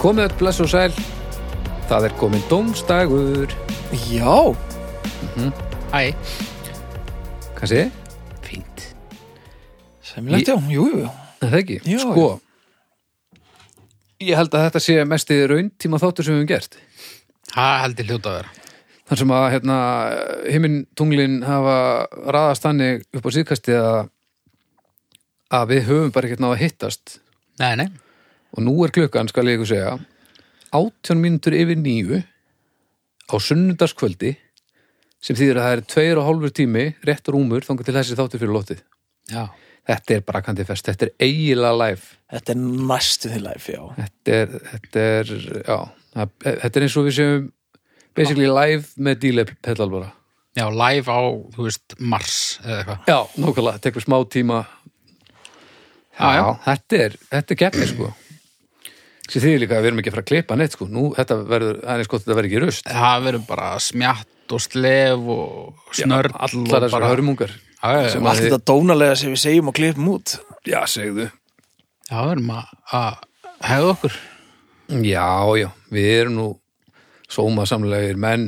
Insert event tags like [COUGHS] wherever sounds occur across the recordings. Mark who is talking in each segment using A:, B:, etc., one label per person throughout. A: Komið öll bless og sæl Það er komin dómstagur
B: Já
C: Mhm.
B: Æ,
A: Hvað sé? Fínt
B: semilegt já, jú, jú, jú
A: Það ekki?
B: Já,
A: sko Ég held að þetta sé mest í raun tíma þáttur sem við höfum gert
C: Það heldur hljóta að vera.
A: Þar sem að hérna, himinn tunglin hafa raðast þannig upp á síðkasti að, að við höfum bara ekkert náð að hittast
C: Nei, nei.
A: og nú er klukkan, skal ég ykkur segja 18 mínútur yfir nýju á sunnundaskvöldi sem þýðir að það er tveir og hálfur tími rétt rúmur þangar til þessi þáttur fyrir lótið
C: Já.
A: Þetta er brakandi fest, þetta er eiginlega live
B: Þetta er næstu því life, já
A: Þetta er, þetta er, já það- Þetta er eins og við séum basically live með díle pedal bara
C: Já, live á, þú veist, Mars eða eitthvað.
A: Já, nókulega, þetta tekur smá tíma
C: Já, já.
A: Þetta er, þetta er keppni sko Sér því líka að við erum ekki að fara að klippa neitt sko Nú, þetta verður, það er eins gott að þetta verður ekki rust
C: Það verður bara smjatt og slef og snörd.
A: Allar
C: og
A: þessar
C: bara...
A: hörmungar
C: Já, já, já.
A: sem
B: Allt
A: að þið,
B: þetta dónalega sem við segjum og klippum út
A: já, segðu
C: Já, við verðum að- að hegða okkur.
A: Já, já, við erum nú sómasamlegir menn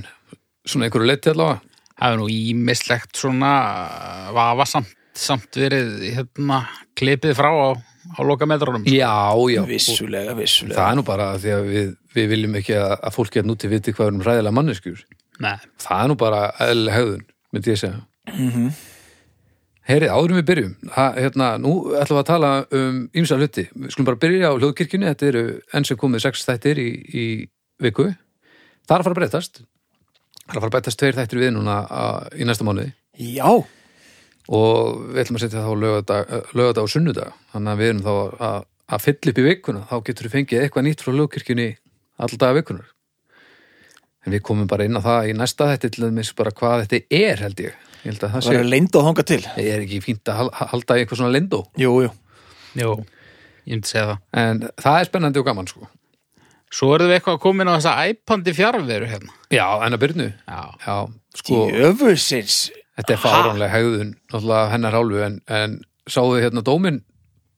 A: svona einhverju leitt allavega
C: Það er nú ímislegt svona uh, vafasamt samt verið hérna klipið frá á, á lokametrunum.
A: Já, já,
B: Vissulega,
A: Og
B: vissulega
A: það er nú bara því að við, við viljum ekki að, að fólk geta núti viti hvað við erum ræðilega manneskjur
C: Nei.
A: það er nú bara eðlileg hegðun myndi ég segja mm -hmm. Heyri, áðurum við byrjum ha, hérna, nú ætlum við að tala um ýmsa hluti, við skulum bara byrja á hljóðkirkjunni þetta eru enn sem komið sex þættir í, í viku, það er að fara að breytast það er að fara að breytast tveir þættir við núna a, í næsta mánuði
B: Já,
A: og við ætlum að setja þá lögadag, lögadag eh, og sunnudag þannig að við erum þá að, að fylla upp í vikuna þá getur við fengið eitthvað nýtt frá lögkirkjunni alldaga vikunar en við komum bara inn á það í næsta þetta til að minnst bara hvað þetta er held ég ég held að það
B: það
A: sé
B: er leind og þanga til
A: ég er ekki fínt að hal- halda í eitthvað svona lindó
B: Jú, jú
C: Jú, ég myndi segja það.
A: en það er spennandi og gaman sko
C: Svo erum við eitthvað að koma inn á þessa æpandi fjárveru hérna.
A: já, en að byrnu
C: Já.
A: já, sko,
B: Jöfusins
A: þetta er fáránlega hegðun náttúrulega af hennar hálfu en, en sáðu hérna dóminn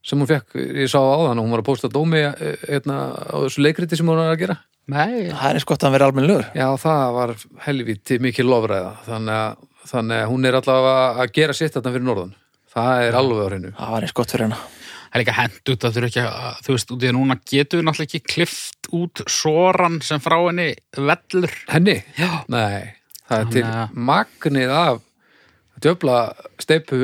A: sem hún fekk, ég sá á þann og hún var að pósta dómi eh, hérna á þessu leikriti sem hún var að gera
C: Nei,
B: Það er eins gott að hann vera almennlegur
A: Já, það var helviti mikið lofræða þannig að, þannig að hún er allavega að gera sitt þarna fyrir norðan það er alveg á hreinu
B: Það var eins gott fyrir hana
C: Það er líka hend út að þú ekki að, þú veist, út í að núna getur við náttúrulega ekki klift út soran sem frá henni vellur.
A: Henni?
C: Já.
A: Nei, það er til
C: Þannig að-
A: magnið af djöfla steipu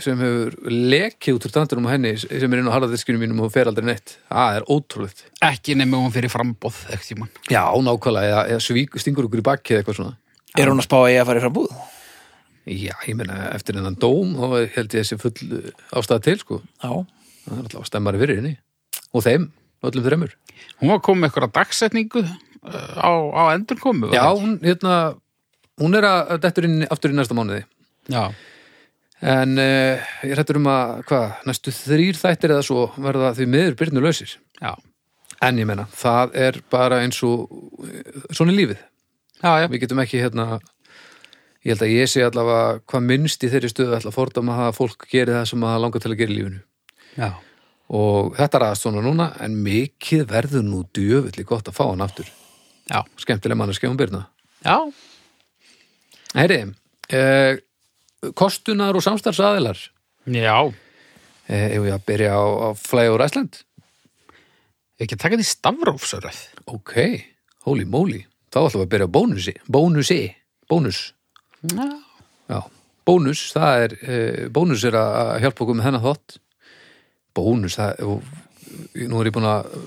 A: sem hefur lekið út úr tandunum á henni sem er inn á harðardiskunum mínum og fer aldrei neitt það er ótrúlegt
C: Ekki nefnum hún fyrir frambóð, ekkert tímann.
A: Já, nákvæmlega, eða, eða svík, stingur okkur í bakki eða eitthvað svona
B: Er hún að spá að ég að fara í frambúð?
A: Já, ég meina eftir hennan dóm þá held ég þessi full ástæða til sko.
B: Já
A: það er allavega stemmari fyrir henni og þeim, öllum þreymur
C: Hún var komið með eitthvað dagsetningu uh, á, á endurkomu. var
A: Já,
C: það ekki?
A: hún, hérna, hún er að dettur inn aftur í næsta mánuði
C: Já.
A: en uh, ég hættur um að hvað, næstu þrýr þættir eða svo verða því miður byrnu lausir
C: Já.
A: en ég menna, það er bara eins og eh, svona er lífið
C: Já, já.
A: við getum ekki hérna ég held að ég sé allavega hvað minnst í þeirri stöðu ætla að fordama það að fólk geri það sem að langa til að gera í lífinu
C: Já.
A: og þetta ræðast svona núna en mikið verður nú djöfulli gott að fá hann aftur
C: Já.
A: skemmtileg mann að skefum byrna
C: Já.
A: Heyri, eh, kostunar og samstarfsaðilar
C: Já.
A: eh, ef ég að byrja á, á Fly over Iceland
C: Við ekki að taka því stafrófsöröð.
A: ok, holy moly þá ætlum við að byrja á bónusi bónusi, bónus
C: Já.
A: Já. bónus, það er eh, bónus er að að hjálpa okkur með þennan þátt bónus, það og, nú er ég búin að eh,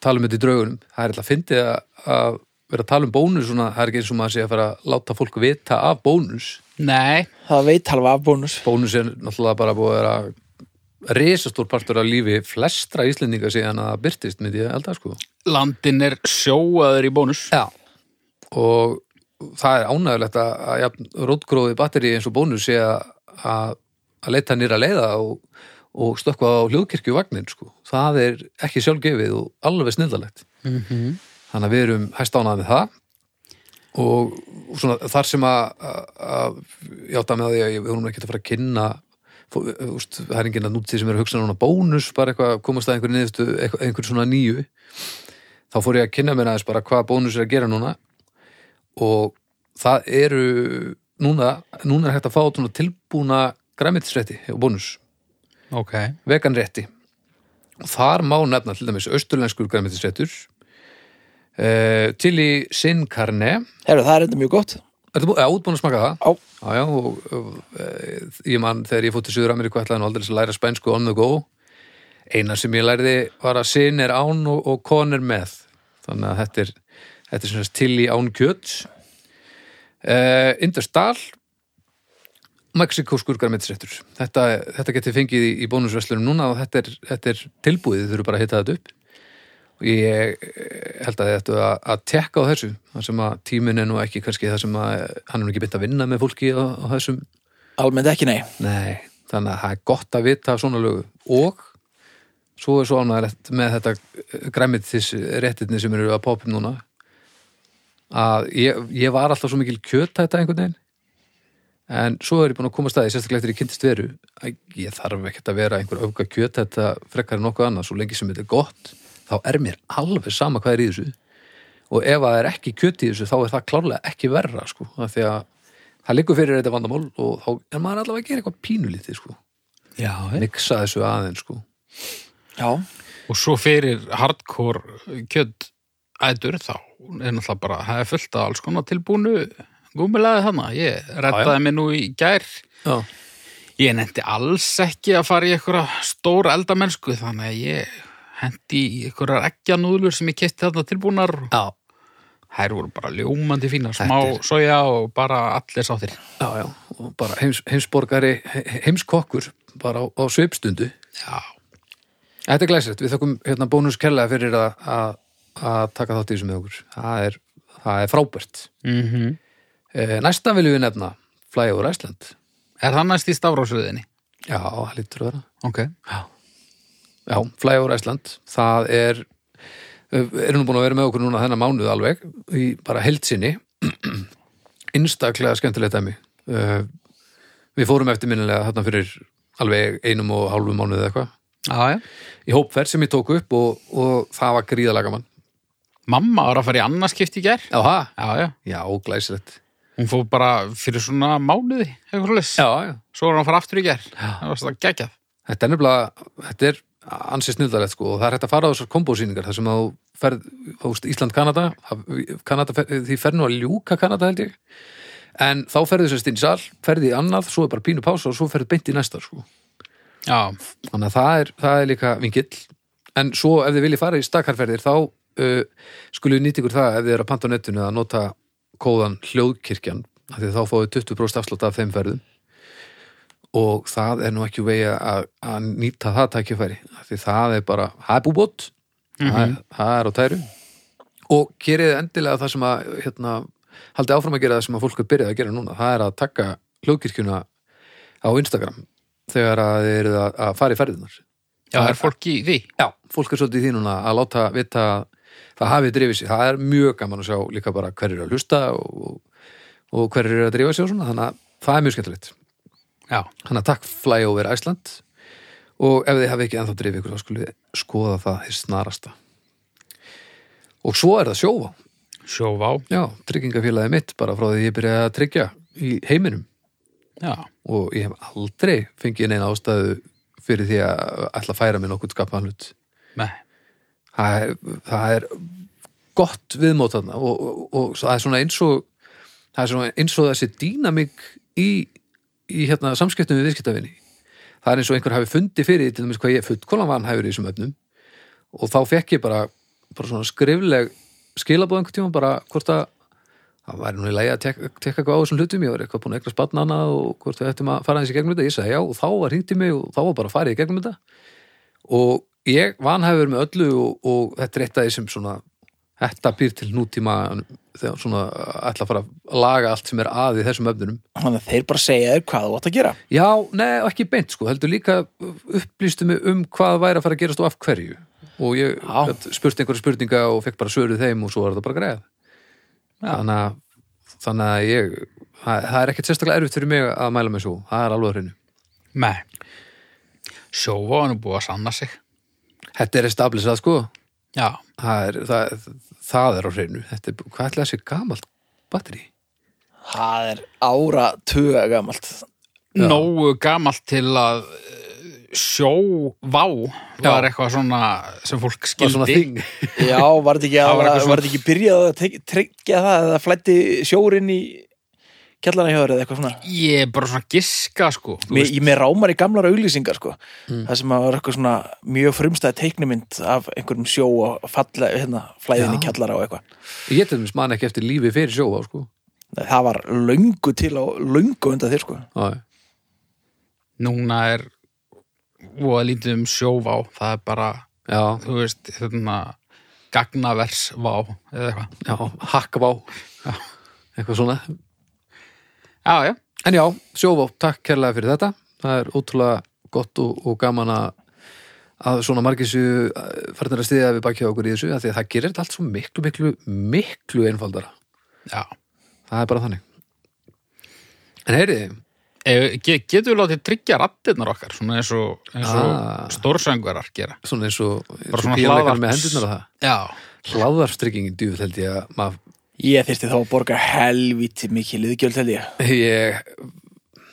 A: tala um þetta í draugunum, það er alltaf fyndið að, að vera að tala um bónus svona, það er ekki eins og maður sé að fara að láta fólk vita af bónus
C: Nei.
B: Það veit halva af bónus
A: bónus er náttúrulega bara búið að vera risastór partur af lífi flestra Íslendinga síðan að það byrtist myndi ég held að sko
C: Landin er sjóaður í bónus.
A: Já. og það er ánægulegt að, að ja, rótgróði batteri eins og bónus sé að, að, að leita nýra leiða og, og stökkva á hljóðkirkjuvagnin sko það er ekki sjálfgefið og alveg snildalegt þannig að við erum hæst ánað við það og og svona, þar sem að, að, að ég átta með því að ég- við vorum ekki að fara að kynna fó- úst, það er enginn að núti sem er að hugsa núna bónus, bara eitthvað að komast að einhver niðurstu, einhver svona nýju þá þá fór ég að kynna mér aðeins bara hvað bónus er að gera núna og það eru núna, núna er hægt að fá svona tilbúna græmitisrétti og bónus
C: Ok.
A: veganrétti og þar má nefna til dæmis austurlenskur græmitisréttur uh, til í sinnkarne
B: Herru, það er enda mjög gott.
A: Ertu búin, ja, útbúin að smaka það?
B: Á,
A: Já, já, og uh, ég man þegar ég fótt til Suður Ameríku ætlaði nú aldrei að læra spænsku on the go eina sem ég lærði var að sin er án og, og kon er með þannig að þetta er, þetta er svona til í án kjöt uh, Industal Mexikóskur garmitsréttur þetta, þetta geti fengið í, í bónusverslunum núna og þetta er, þetta er tilbúið þið þurfum bara að hitta þetta upp og ég eh, held að þetta að, að tekka á þessu þar sem að tíminn er nú ekki kannski það sem að hann er nú ekki beint að vinna með fólki á, á þessum
B: almennt ekki nei.
A: Nei, þannig að það er gott að vita af svona lögu og svo er svo ánægilegt með þetta græmitis réttirni sem eru að popum núna að ég, ég var alltaf svo mikil kjöt þetta einhvern veginn en svo er ég búin að koma staði sérstaklega eftir ég kynntist veru að ég þarf ekkert að vera einhver öfga kjöt þetta frekar en nokkuð annað svo lengi sem þetta er gott þá er mér alveg sama hvað er í þessu og ef það er ekki kjöt í þessu þá er það klárlega ekki verra sko, af því að það liggur fyrir þetta vandamál og þá er maður allavega að gera eitthvað pínulítið sko,
C: Já,
A: miksa þessu aðeins sko.
B: Já,
C: Og svo fyrir hardcore kjöld ætur þá er náttúrulega bara, það er fullt af alls konar tilbúnu gúmilaði hana. Ég rettaði mig nú í gær.
A: Já.
C: Ég nefndi alls ekki að fara í einhverja stóra eldamennsku þannig að ég hendi í einhverjar eggjanúðlur sem ég keisti þarna tilbúnar.
A: Já,
C: Þær voru bara ljómandi fínar,
A: Þetta
C: smá
A: er-
C: soja og bara allir sáttir.
A: já, já, og bara heims, heimsborgari, he- heimskokkur bara á, á svipstundu.
C: Já,
A: Þetta er glæsilegt, við þökkum hérna bónus kellega fyrir að- að að taka þátt í þessu með okkur. Það er, það er frábært.
C: mm
A: Eh, Næsta viljum við nefna Fly over Iceland.
C: er það næst í stafrósröðinni?
A: Já, það lítur að vera.
C: Ok.
A: Já, Fly over Iceland, það er erum nú búin að vera með okkur núna þennan mánuð alveg, í bara heldsinni [CLEARS THROAT] einstaklega skemmtilegt dæmi uh, við fórum eftir minnilega þarna fyrir alveg einum og hálfu mánuð eða eitthvað
C: Já, já.
A: í hópferð sem ég tók upp og, og það var gríðalega mann
C: Mamma var að fara í annarskipti í gær.
A: Já, ha?
C: Já, já.
A: Já, glæsilegt
C: Hún fór bara fyrir svona mánuði, eitthvað leys.
A: Já, já,
C: Svo var hún að fara aftur í gær.
A: Já.
C: Það var svona geggjað.
A: þetta er nefnilega þetta er ansi snildalegt sko og það er hægt að fara á þessar kombósýningar þar sem að þú ferð, þú veist, Ísland-Kanada það- Kanada, fer- því fer nú að ljúka Kanada held ég, en þá ferðu sérst inn í sal, ferði í annað, svo er bara pínu pása og svo ferði beint í næsta sko
C: Já,
A: þannig að það er, það er líka vingill en svo ef þið viljið fara í stakkarferðir þá uh, skulum við nýta ykkur það ef þið eru að panta á netinu að nota kóðan hljóðkirkjan af því að þá fáið 20% afslátt af þeim ferðum og það er nú ekki úr vegi að, að nýta það tækifæri af því það er bara, það er búbót það, er, það er á tæru og gerið endilega það sem að hérna, haldið áfram að gera það sem að fólk er byrjað að gera núna, það er að taka hljóðkirkjuna á Instagram þegar að þið eruð að, að fara í ferðunar
C: já, það er fólk í því.
A: Já, fólk er svolítið í því núna að láta vita að það hafi drifið sér. Það er mjög gaman að sjá líka bara hver eru að hlusta og, og hver eru að drifa sér og svona, þannig að það er mjög skemmtilegt.
C: Já,
A: Þannig að takk Flyover Iceland og ef þið hafi ekki ennþá drifið ykkur þá skulle skoða það hér snarasta. Og svo er það sjóvá.
C: sjóvá.
A: Já, tryggingafélagið mitt bara frá því ég byrjaði að tryggja í heiminum
C: Já,
A: og ég hef aldrei fengið neina ástæðu fyrir því að ætla að færa mér nokkuð skapaðan hlut.
C: með.
A: það er, það er gott viðmót þarna og, og, og það er svona eins og það er svona eins og þessi dýnamik í, í hérna, samskiptum við viðskiptafinni það er eins og einhver hafi fundið fyrir því, til dæmis hvað ég fullkólan vann hæfur í þessum öfnum og þá fekk ég bara, bara svona skrifleg skilabóð einhvern tíma bara hvort að það væri nú í lægi að tekka tek eitthvað á þessum hlutum ég var eitthvað búin að eitthvað spanna hana og hvort við ættum að fara þessi gegnum þetta ég sagði já og þá var hringt í mig og þá var bara farið í gegnum þetta og ég vanhæfur með öllu og, og þetta er eitt af því sem svona þetta býr til nútíma þegar svona ætla að fara að laga allt sem er að í þessum öfnunum
B: þannig að þeir bara segja þér hvað þú átt að gera.
A: já, nei, og ekki beint sko, heldur líka upplýstu mig um hvað væri að fara að gerast og af hverju og ég
B: Já.
A: gat spurt einhverja spurninga og fekk bara svöruð þeim og svo var þetta bara greið þannig að þannig að ég, það það er ekkert sérstaklega erfitt fyrir mig að mæla með svo, það er alveg á hreinu
C: Með. Sjóvá hann er búið að sanna sig.
A: þetta er establisað sko
C: já,
A: það er, það, það er á hreinu þetta er, hvað ætla þessi gamalt batteri
B: Það er ára tuga gamalt
C: nógu gamalt til að eh, sjó vá var eitthvað svona sem fólk
A: var svona
C: skildi
A: þing
B: Já, var [LAUGHS] þetta ekki,
C: Það var
B: var
C: eitthvað svona-
B: var þetta ekki byrjað að tek- tryggja það eða það flætti sjórinn í kjallana hjá þér eða eitthvað svona
C: ég er bara svona giska sko þú
B: Mér,
C: veist.
B: ég með rámar í gamlar auglýsingar sko. það sem að var eitthvað svona mjög frumstæði teiknumynd af einhverjum sjó og falla, hérna, flæðin í
A: Já.
B: kjallara og eitthvað
A: ég til þess man ekki eftir lífi fyrir sjóa sko.
B: það var löngu til á löngu undan þér sko.
A: Já,
C: núna er og að lítið um sjó vá það er bara,
A: já,
C: þú veist hérna, gagnavers vá eða eitthvað
A: já, hakkvá eitthvað svona
C: já, já,
A: En já, sjóvá, takk kærlega fyrir þetta. Það er ótrúlega gott og, og gaman að að svona margir séu eh, farnir að stiðja við bakið á okkur í þessu, af því að það gerir þetta allt svo miklu, miklu, miklu einfaldara.
C: já
A: Það er bara þannig. En heyri,
C: Eh, ge- getum við látið tryggja rattirnar okkar svona eins og, eins og
A: Ah.
C: stórsöngvarar gera
A: svona eins og, eins og
C: svona
A: píanleikarinn með
C: hlaðvarps.
A: hendurnar og það.
C: já,
A: Hláðarstryggingin djúð held ég að maður,
B: ég þyrfti þá að borga helviti mikið liðgjöld held ég
A: ég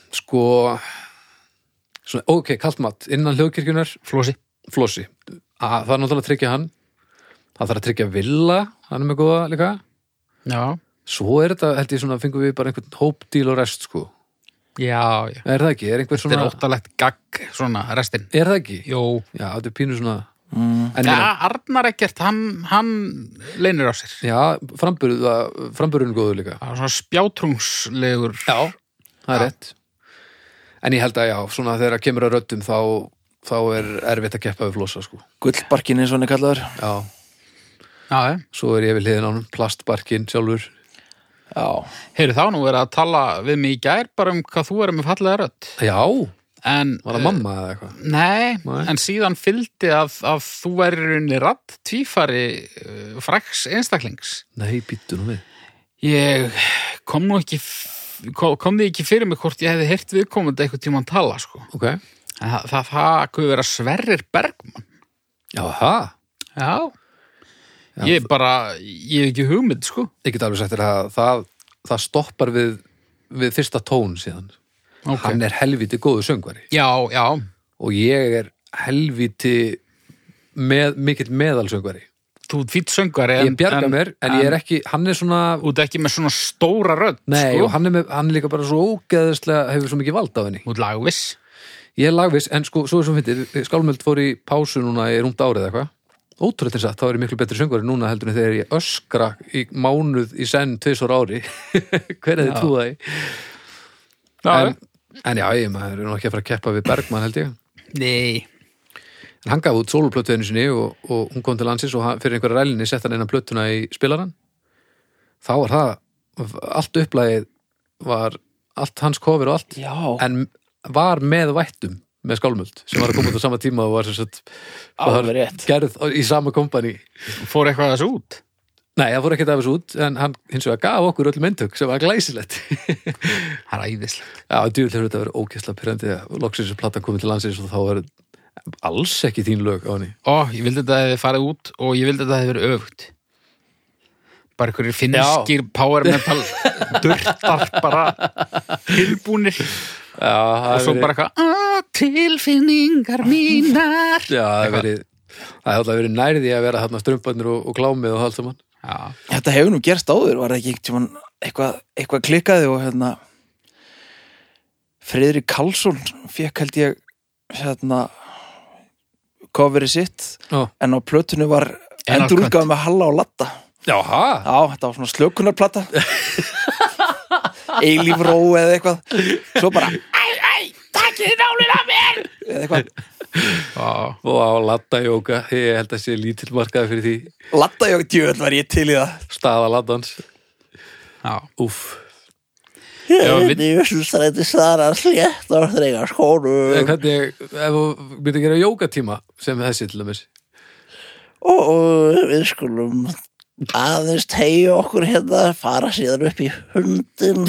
A: sko svona, ok, kaltmatt, innan hljóðkirkjunar
C: flósi
A: Flossi að, það er náttúrulega að tryggja hann það þarf að tryggja Villa, hann er með góða líka
C: já,
A: svo er þetta, held ég svona, fengum við bara einhvern hópdíl og rest sko,
C: já, já
A: er það ekki, er einhver
C: þetta
A: svona
C: er óttalegt gagg svona restin
A: er það ekki,
C: Jó,
A: já, þetta er pínu svona
B: mm.
A: en
C: ja,
A: ja.
C: Arnar ekkert, hann, hann leinir á sér
A: já, framburð framburðun góður líka,
C: það er svona spjátrungslegur
A: já, það er
C: Já.
A: rétt en ég held að já, svona þegar að kemur að röddum þá, þá er erfitt að keppa við Flossa sko,
B: gullbarkin eins og hann er kallaður
A: já,
C: já,
A: svo er ég við hliðin á honum, plastbarkin sjálfur
B: já,
C: heyri þá nú verið að tala við mig í gær bara um hvað þú erum með fallega rödd
A: já, var
C: en, eh,
A: það mamma eða eitthvað
C: nei,
A: Nei.
C: en síðan fylgdi að, að þú verður unni rödd tvífari uh, fræks einstaklings
A: nei, býttu nú við
C: ég kom nú ekki f- kom, kom því ekki fyrir mig hvort ég hefði heyrt viðkomandi eitthvað tíma að tala sko.
A: ok,
C: En það, það, það kuði vera Sverrir Bergmann
A: já, það
C: já, ég bara ég hef ekki hugmynd sko
A: ég get alveg sagt þér að það, það stoppar við, við fyrsta tón síðan
C: okay.
A: hann er helviti góðu söngvari
C: já, já,
A: og ég er helviti með, mikill meðalsöngvari
C: þú ert fýtt söngari
A: ég bjarga mér, en, ég er ekki hann er svona,
C: út ekki með svona stóra rödd
A: nei,
C: sko.
A: og hann er, með, hann er líka bara svo ógeðislega, hefur svo mikið vald á henni
C: út lagviss
A: ég er lagviss, en sko, svo er svo fyndið skálmöld fór í pásu núna í rúmt árið eitthvað ótrúlega þess að þá er ég miklu betri söngvari núna heldur en þegar ég öskra í mánuð í senn tvisar ári [LAUGHS] hver er þið trúðaði en, en já, ég maður er nú ekki að fara að keppa við Bergmann held ég
C: nei,
A: en hann gaf út sóluplötu einu sinni og, og hún kom til landsins og hann, fyrir einhverja rælinni sett hann einan plötuna í spilaran þá var það allt upplægið var allt hans kofir og allt
B: já.
A: en var með vættum með skálmöld sem var að koma út á sama tíma og var sem sagt
B: Alveg
A: var
B: rétt.
A: gerð í sama kompani
C: fór eitthvað þessu út
A: nei, það fór ekki að þessu út en hann hins vegar gaf okkur öllum eintök sem var glæsilegt
C: það er æðislegt
A: Já, djúvill hefur þetta verið ógeðslega pyrrandi að loksins að platan komið til landsins og þá er alls ekki þín lög á henni.
C: ó, ég vildi þetta hefði farið út og ég vildi þetta hefði verið öfugt bara einhverjir finnskir power [LAUGHS] metal durtar bara tilbúnir
A: Já,
C: og svo bara eitthvað "Ó, tilfinningar mínar
A: Já, það hefur verið, það hefur alltaf verið nærði að vera þarna strömbarnir og, og klámið og allt saman.
C: já,
B: Þetta hefur nú gerst áður, var það ekki einhvern tímann eitthvað, eitthvað klikkaði og hérna Friðrik Karlsson fekk held ég hérna coverið sitt
A: Já,
B: en á plötunni var
C: Einar
B: endurútgáð með Halla og Latta
A: já, ha?
B: Já, þetta var svona [LAUGHS] slökunarplata Eilíf Ró eða eitthvað Svo bara Æ, æ, takkið nálinn af mér eða eitthvað
C: já,
A: Og á lattajóka, ég held að sé lítill markaði fyrir því,
B: Latta ég djöðl var ég til í það
A: staða lattans,
C: já.
A: úff.
C: Já, við-
B: Ég er svo strætti sara slétt á þregar skónum
A: En hvernig, ef þú myndir að gera jókatíma sem þessi til dæmis,
B: og við skulum aðeins tegja okkur hérna fara síðan upp í hundin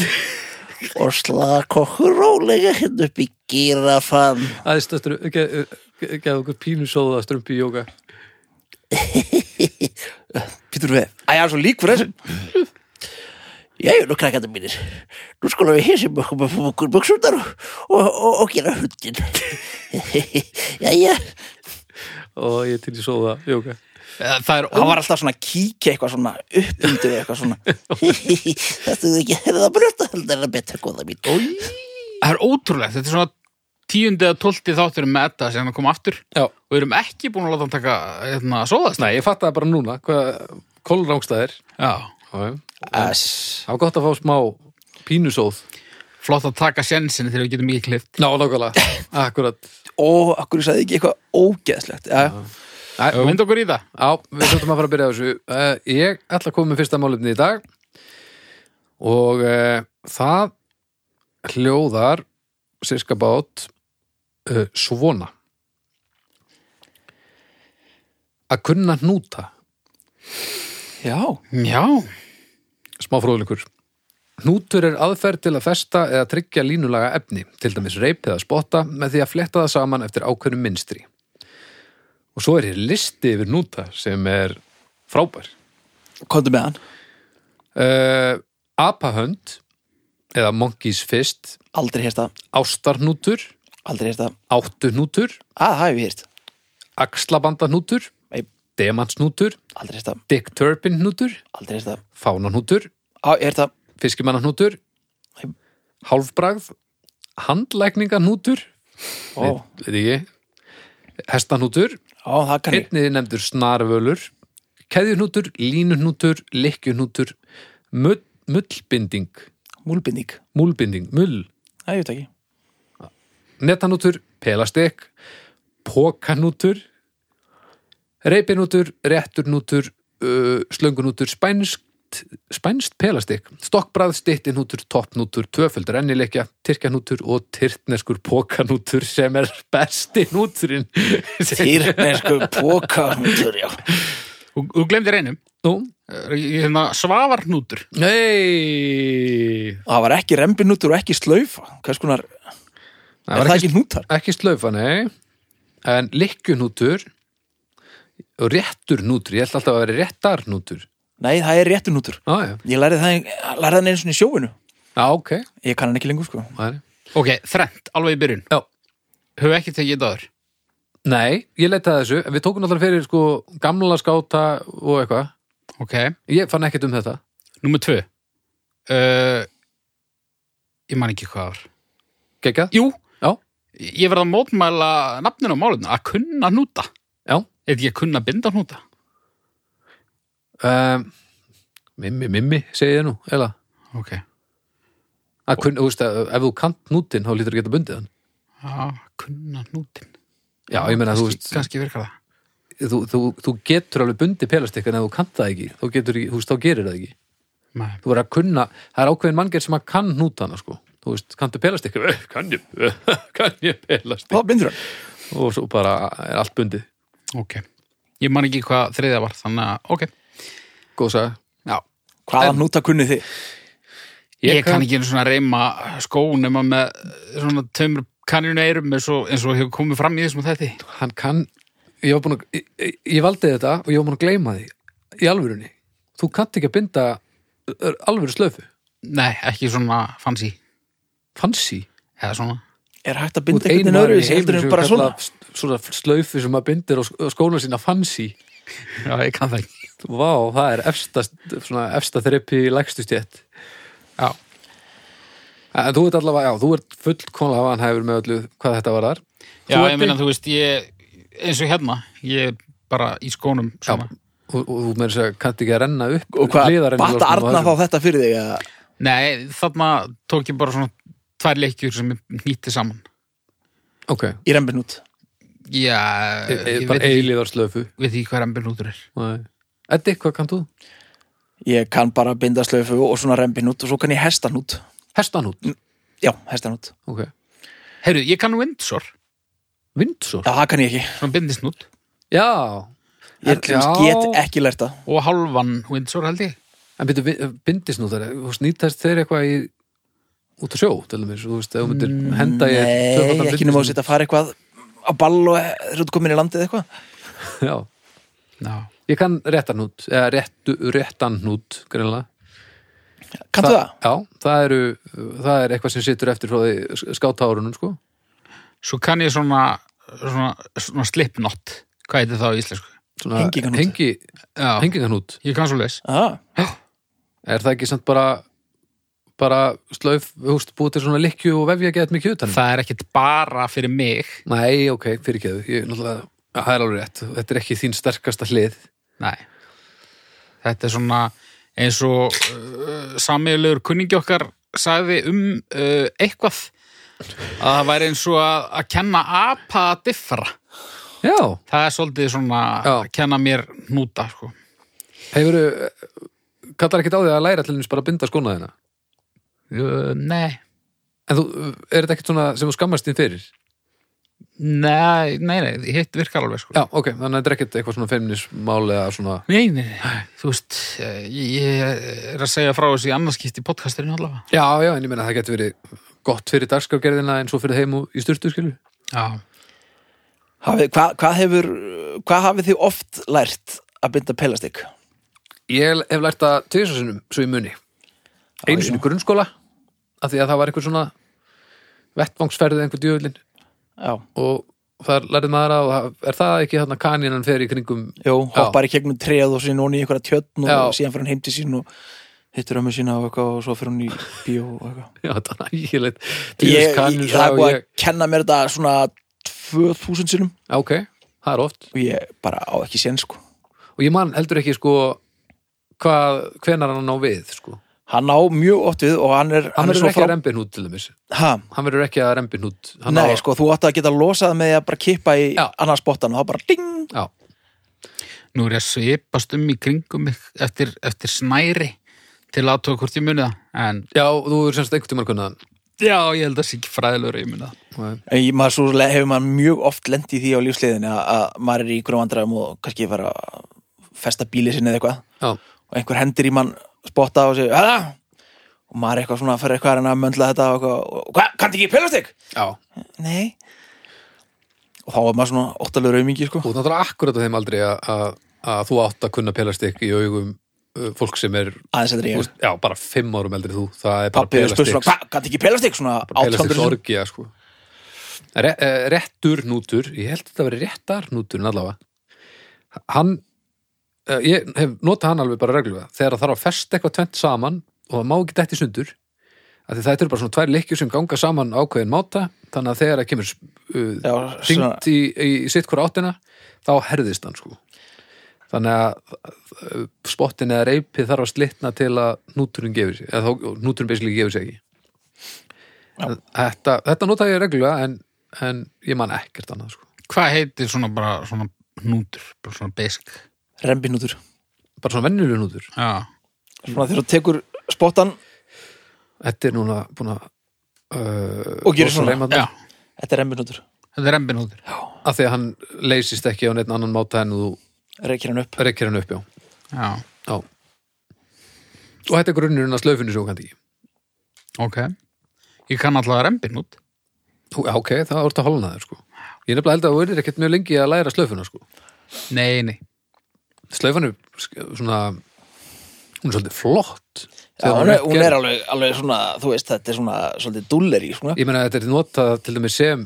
B: og slaka okkur rólega hérna upp í gírafan
A: um aðeins að gefa okkur pínusóða strömbi í jóka.
B: Pítur við, að ég er svo líkur þessu Jæja, nú krakkandi mínir Nú skulum við hissum okkur með okkur buksundar og, og, og, og gera hundin [LAUGHS] Jæja
A: og ég er til í sóða jóka
C: Eh, Það er
B: Hann var alltaf svona að kíkja eitthvað svona upp undir eitthvað svona [LAUGHS] Þetta er ekki herða brjóta heldur en að betra góða mín
C: Það er ótrúlegt, þetta er svona tíundi eða tólti þáttur með þetta sem hann kom aftur
A: Já.
C: og við erum ekki búin að láta hann taka hérna, sóðast.
A: Nei, ég fattaði bara núna hvað kólrángstæðir
C: Já,
A: Það
B: Ass
A: var gott að fá smá pínusóð
C: flott að taka sjensinni þegar við getum ekki klift.
A: Ná, nákvæmlega, [COUGHS] akkurat
B: Ó, akkur ég sagði ekki eitthvað ógeðslegt Já,
A: Æ,
C: Við vindu okkur í það.
A: Já, við þurfum að fara að byrja á þessu. Uh, ég ætla að koma með fyrsta málefni í dag og uh, það hljóðar sirka bát uh, svona. Að kunna hnúta,
B: já,
C: Já,
A: smá fróðleikur. Hnútur er aðferð til að festa eða tryggja línulaga efni, til dæmis reip eða spotta, með því að fletta það saman eftir ákveðnum minstri. Og svo er hér listi yfir hnúta sem er frábær.
B: komdu með hann
A: uh, apahönd eða monkey's fist
B: Aldrei hérta,
A: ástarhnútur,
B: aldrei hérta
A: áttuhnútur
B: Að, það hef ég hýrt
A: axlabandahnútur,
B: Nei.
A: demantshnútur
B: Aldrei hérta,
A: Dick Turpinhnútur,
B: aldrei hérta
A: fánahnútur
B: Á, ég hérta,
A: fiskimannahnútur
B: Nei.
A: hálfbragð handlækningahnútur
B: ó,
A: veit ekki hestahnútur,
B: ó, það kann ég
A: einnig nefndur snarvölur keðjuhnútur, línuhnútur lykkjuhnútur mull, mullbinding
B: Múlbindík,
A: múlbinding, mull
B: það ég veit ekki
A: netanútur, pelastek pókanútur reipinútur, rétturnútur uh, slöngunútur, spænst spænst pelastek stokkbrað, stittinútur, toppnútur, tvöföldur ennileikja, tyrkjanútur og tyrtneskur pókanútur sem er besti núturinn
B: [LAUGHS] Týrnesku pókandur, já
C: og þú glemdir einum.
A: Nú,
C: Eh, ég- Hérna, svavarnútur.
A: nei
B: Það var ekki rembinútur og ekki slaufa Hvers konar,
A: Það
B: er
A: var
B: það
A: ekki,
B: ekki hnútar?
A: ekki slaufa, nei en likkunútur og rétturnútur, ég held alltaf að vera réttarnútur
B: Nei, það er réttu nútur
A: Já, já,
B: Ég lærði það, lærði það einu svona í sjóinu
A: já, ok
B: Ég kann hann ekki lengur, sko
A: Nei.
C: Ok, þrennt, alveg í byrjun.
A: Já.
C: Hefur ekki tekið þetta aður.
A: Nei, ég leitaði þessu, en við tókum náttúrulega fyrir sko gamla skáta og eitthvað.
C: Ok,
A: Ég fann ekkert um þetta.
C: númer tvö. Uh, ég man ekki hvað það var.
A: Gekkað?
C: Jú,
A: Já,
C: ég verð að mótmæla nafninu á málinu, að kunna hnúta.
A: já.
C: Eða ekki að kunna binda hnúta.
A: Um, mimmi, mimmi, segi ég nú, eða.
C: Ok.
A: Að kunn, þú veist, að ef þú kant nútin, þá lítur að geta bundið hann.
C: Já, kunna hnútin.
A: Já, ég meina, þú
C: Kannski-
A: veist,
C: Kannski virkar það.
A: þú, þú, þú getur alveg bundið pelastikk en ef þú kant það ekki, þá getur ekki, þú veist, þá gerir það ekki.
C: Nei.
A: Þú verður að kunna, það er ákveðin manngerð sem að kann nútana, sko. Þú veist, kanntu pelastikk? Kann ég, eh, [LAUGHS] kann ég pelastikk?
B: Hvað bindur hann?
A: Og svo bara er allt bundið.
C: Ok. Ég man ekki hvað þriðja var, þannig að, ok.
A: Góð saga.
C: Já.
B: Hvaða hnúta kunnið þið?
C: Ég,
A: Ég
C: kann
A: kann-
C: ekki einu svona reyma skó nema með svona tömur kanninu eirum eins og, eins og hefur komið fram í þessum þetta.
A: hann kann ég, var búinn að, ég, ég- ég valdi þetta og ég var búin að gleyma því í alvörunni þú kannt ekki að binda ö, alvöru slöfu,
C: Nei, ekki svona fancy.
A: fancy
C: Eða svona.
B: Er hægt
A: Þú
B: að binda
A: ert
B: einhvern
A: einu
B: veginn
A: maður
B: öðru
A: í
B: í heldur
A: heiminum
B: en
A: sem
B: bara svona?
A: kallar s- svona slöfu sem að bindir á sk- á skóna sína fancy
C: Já, ég kann það ekki.
A: Vá, það er efsta, svona, efsta þreppi í lægstu stjætt
C: Já.
A: en þú ert allavega, já, þú ert fullkomlega hann hefur með öllu hvað þetta var þar
C: Já,
A: Þú
C: ég
A: ert
C: meina, þú veist, ég, eins og hérna, ég er bara í skónum svona.
A: og, og þú meður þess að kannt ekki að renna upp
B: Og hvað,
A: hliðarrennilásnum
B: batta
A: á
B: Arna þá
A: þessum.
B: þetta fyrir þig? eða?
C: Nei, þarna tók ég bara svona tvær leikjur sem ég nýtti saman.
A: ok,
B: Í rembinút
C: Já,
A: e, e,
C: Eh, ég veit
A: bara
C: ekki,
A: eilíðar slöfu
C: veit ekki hvað rembinútur er.
A: Eddi, hvað kannt þú?
B: Ég kann bara binda slöfu og svona rembinút og svo kann ég hestanút
A: Hestanút,
B: Já, hestanút
A: ok
C: Heyrðu, ég kann Windsor,
A: Vindsor?
B: Já, það kann ég ekki
C: svona bindisnút,
A: Já,
B: Ég til dæmis
A: Já.
B: get ekki lært það
C: og halvan Windsor held ég.
A: en byrju, vi- bindisnútar, þú snýtast þeir eitthvað í út á sjó, til dæmis, þú veist, ef þú myndir
B: Mm,
A: henda ég
B: Nei, ekki nema að setja að fara eitthvað á ball og þeir eru komin í landið eitthvað
A: [LAUGHS] Já,
C: já,
A: Ég kann réttanút, eða réttu, réttanút, greinlega.
D: Kanntu það?
A: Já, það, eru, það er eitthvað sem situr eftir frá því skátárunum, sko.
C: svo kann ég svona svona, svona slipnott hvað heitir það á íslensku?
A: Svona
D: Henginganút.
A: Hengi,
C: Já,
A: henginganút.
C: ég kann svo leis
D: Já,
A: Er það ekki samt bara, bara slöf, húst, búið til svona likju og vefja gett mikið utanum?
C: það er ekkit bara fyrir mig
A: Nei, ok, fyrirgeðu. Ég, náttúrulega, það er alveg rétt. Þetta er ekki þín sterkasta hlið.
C: Nei. Þetta er svona eins og uh, sammeðlegur kunningi okkar sagði um uh, eitthvað að það væri eins og að, að kenna apa að diffra.
A: Já,
C: Það er svolítið svona
A: Já.
C: að kenna mér hnúta, sko.
A: hefur, kallar ekkert á því að læra til hennis bara að binda skona þina?
C: Uh, nei,
A: En þú, er þetta ekkert svona sem þú skammast þín fyrir?
C: nei, nei, nei, hitt virkar alveg, sko.
A: Já, ok, þannig að þetta er ekkert eitthvað svona feminismál eða svona
C: Nei, nei, nei, þú veist, eh, ég er að segja frá þessu í annarskipt í podcastinu allavega.
A: Já, já, en ég meina að það getur verið gott fyrir dagskrafgerðina en svo fyrir heim og í styrtu, skilur
C: Já,
D: hafi, hva, hvað hefur hvað hafið þið oft lært að binda pelastikk?
A: Ég hef lært það tvisarsinnum svo í muni Einu sinni í grunnskóla af því að það var eitthvað svona vettvangsferðið einhver djöðlin
D: Já,
A: og þar lærið maður að og er það ekki þarna kanínan fer í kringum
D: jú, hoppar í gegnum treð og síðan onni í einhverja tjötn og
A: Já.
D: síðan fyrir hann heim til sín og hittur ömmu sína og eitthvað og svo fyrir hann í bíó og eitthvað
A: Já, þetta er nægilegt
D: ég, ég, það er
A: og
D: búið að
A: ég
D: kenna mér þetta svona 2000 sinum
A: Já, Ok, það er oft
D: og ég bara á ekki sén sko
A: og ég man heldur ekki sko hvað, hvenar hann á við sko.
D: hann á mjög oft við og hann er
A: hann
D: er
A: verður
D: svo
A: ekki að
D: frá-
A: rembin út til þeimis
D: ha,
A: hann verður ekki að rembin út hann
D: nei
A: á,
D: sko þú átt að geta losað með því að bara kippa í
A: Já.
D: annars bóttan og þá bara ding
A: já,
C: Nú er ég að svipast um í kringum mig eftir, eftir snæri til að tók hvort ég muni það. En
A: já, þú er semst einhvern tímann kunnaðan
C: já, ég held að það sé ekki fræðilegur að ég muni það.
D: En ég- maður svo le- hefur maður mjög oft lendi í því á lífsliðinu að, að maður er í einhverjum vandræðum og kannski fara að festa bíli sinni eða eitthvað
A: já,
D: og einhver hendir í mann spotta og segir Hæða? og maður er eitthvað svona að fara eitthvað að reyna að möndla þetta og eitthvað, og hvað, kannti ekki pelastik?
A: já,
D: Nei og þá er maður svona óttalegu raumingi sko
A: þú er náttúrulega akkurat á þeim aldrei að- að að þú átt að kunna pelastikk í augum uh, fólk sem er
D: aðeins þetta er
A: þú
D: ég
A: veist, já, bara fimm árum eldri en þú það er bara
D: pappi spurði svona,
A: pelastikk
D: hvað, kannti ekki pelastik? svona
A: pelastikk
D: 800
A: sorgja sko. Re, eh, réttur nútur ég held að þetta veri réttar nútur allavega hann eh, ég hef notað hann alveg bara reglulega þegar það þarf að festa eitthvað tvent saman og það má ekki detti sundur af því þetta eru bara svona tvær lykkjur sem ganga saman á ákveðin máta þannig að þegar það kemur uh,
D: Já, svona-
A: hringt í, í, í sitt hvora áttina þá herðist hann sko þannig að uh, spottin eða reypi þarf að slitna til að núturinn gefur sig eða þá núturinn beislega gefur sig ekki
D: Já.
A: þetta, þetta nota ég reglulega en, en ég man ekkert annað sko.
C: Hvað heitir svona bara svona hnútur, bara svona basic?
D: rembinútur
A: bara svona venjulegur nútur
C: Já,
D: svona þegar þú tekur spottan
A: þetta er núna búin að uh,
D: Og gerir
A: rosa
D: svona.
A: reima þarna.
C: já,
D: þetta er rembinútur
C: þetta er rembinútur.
A: af því að hann leysist ekki á neitt annan máta en þú
D: reykir hann upp
A: reykir hann upp já.
C: Já,
A: já og þetta er grunnurinn að slöfinu sem hún kannt ekki
C: ok. Ég kann alltaf rembinút.
A: Þú- já, ok, það voru þetta holnaður sko ég er nefnilega held að þú verður ekkert mjög lengi að læra slöfuna sko
C: Nei, nei.
A: slöfan er sk- svona hún er svolítið flott
D: Já,
A: Þegar
D: hún er,
A: upp
D: hún
A: gerð.
D: er alveg, alveg svona, þú veist, þetta er svona svolítið sko. dulleri, svona.
A: ég meina þetta er notað til dæmis sem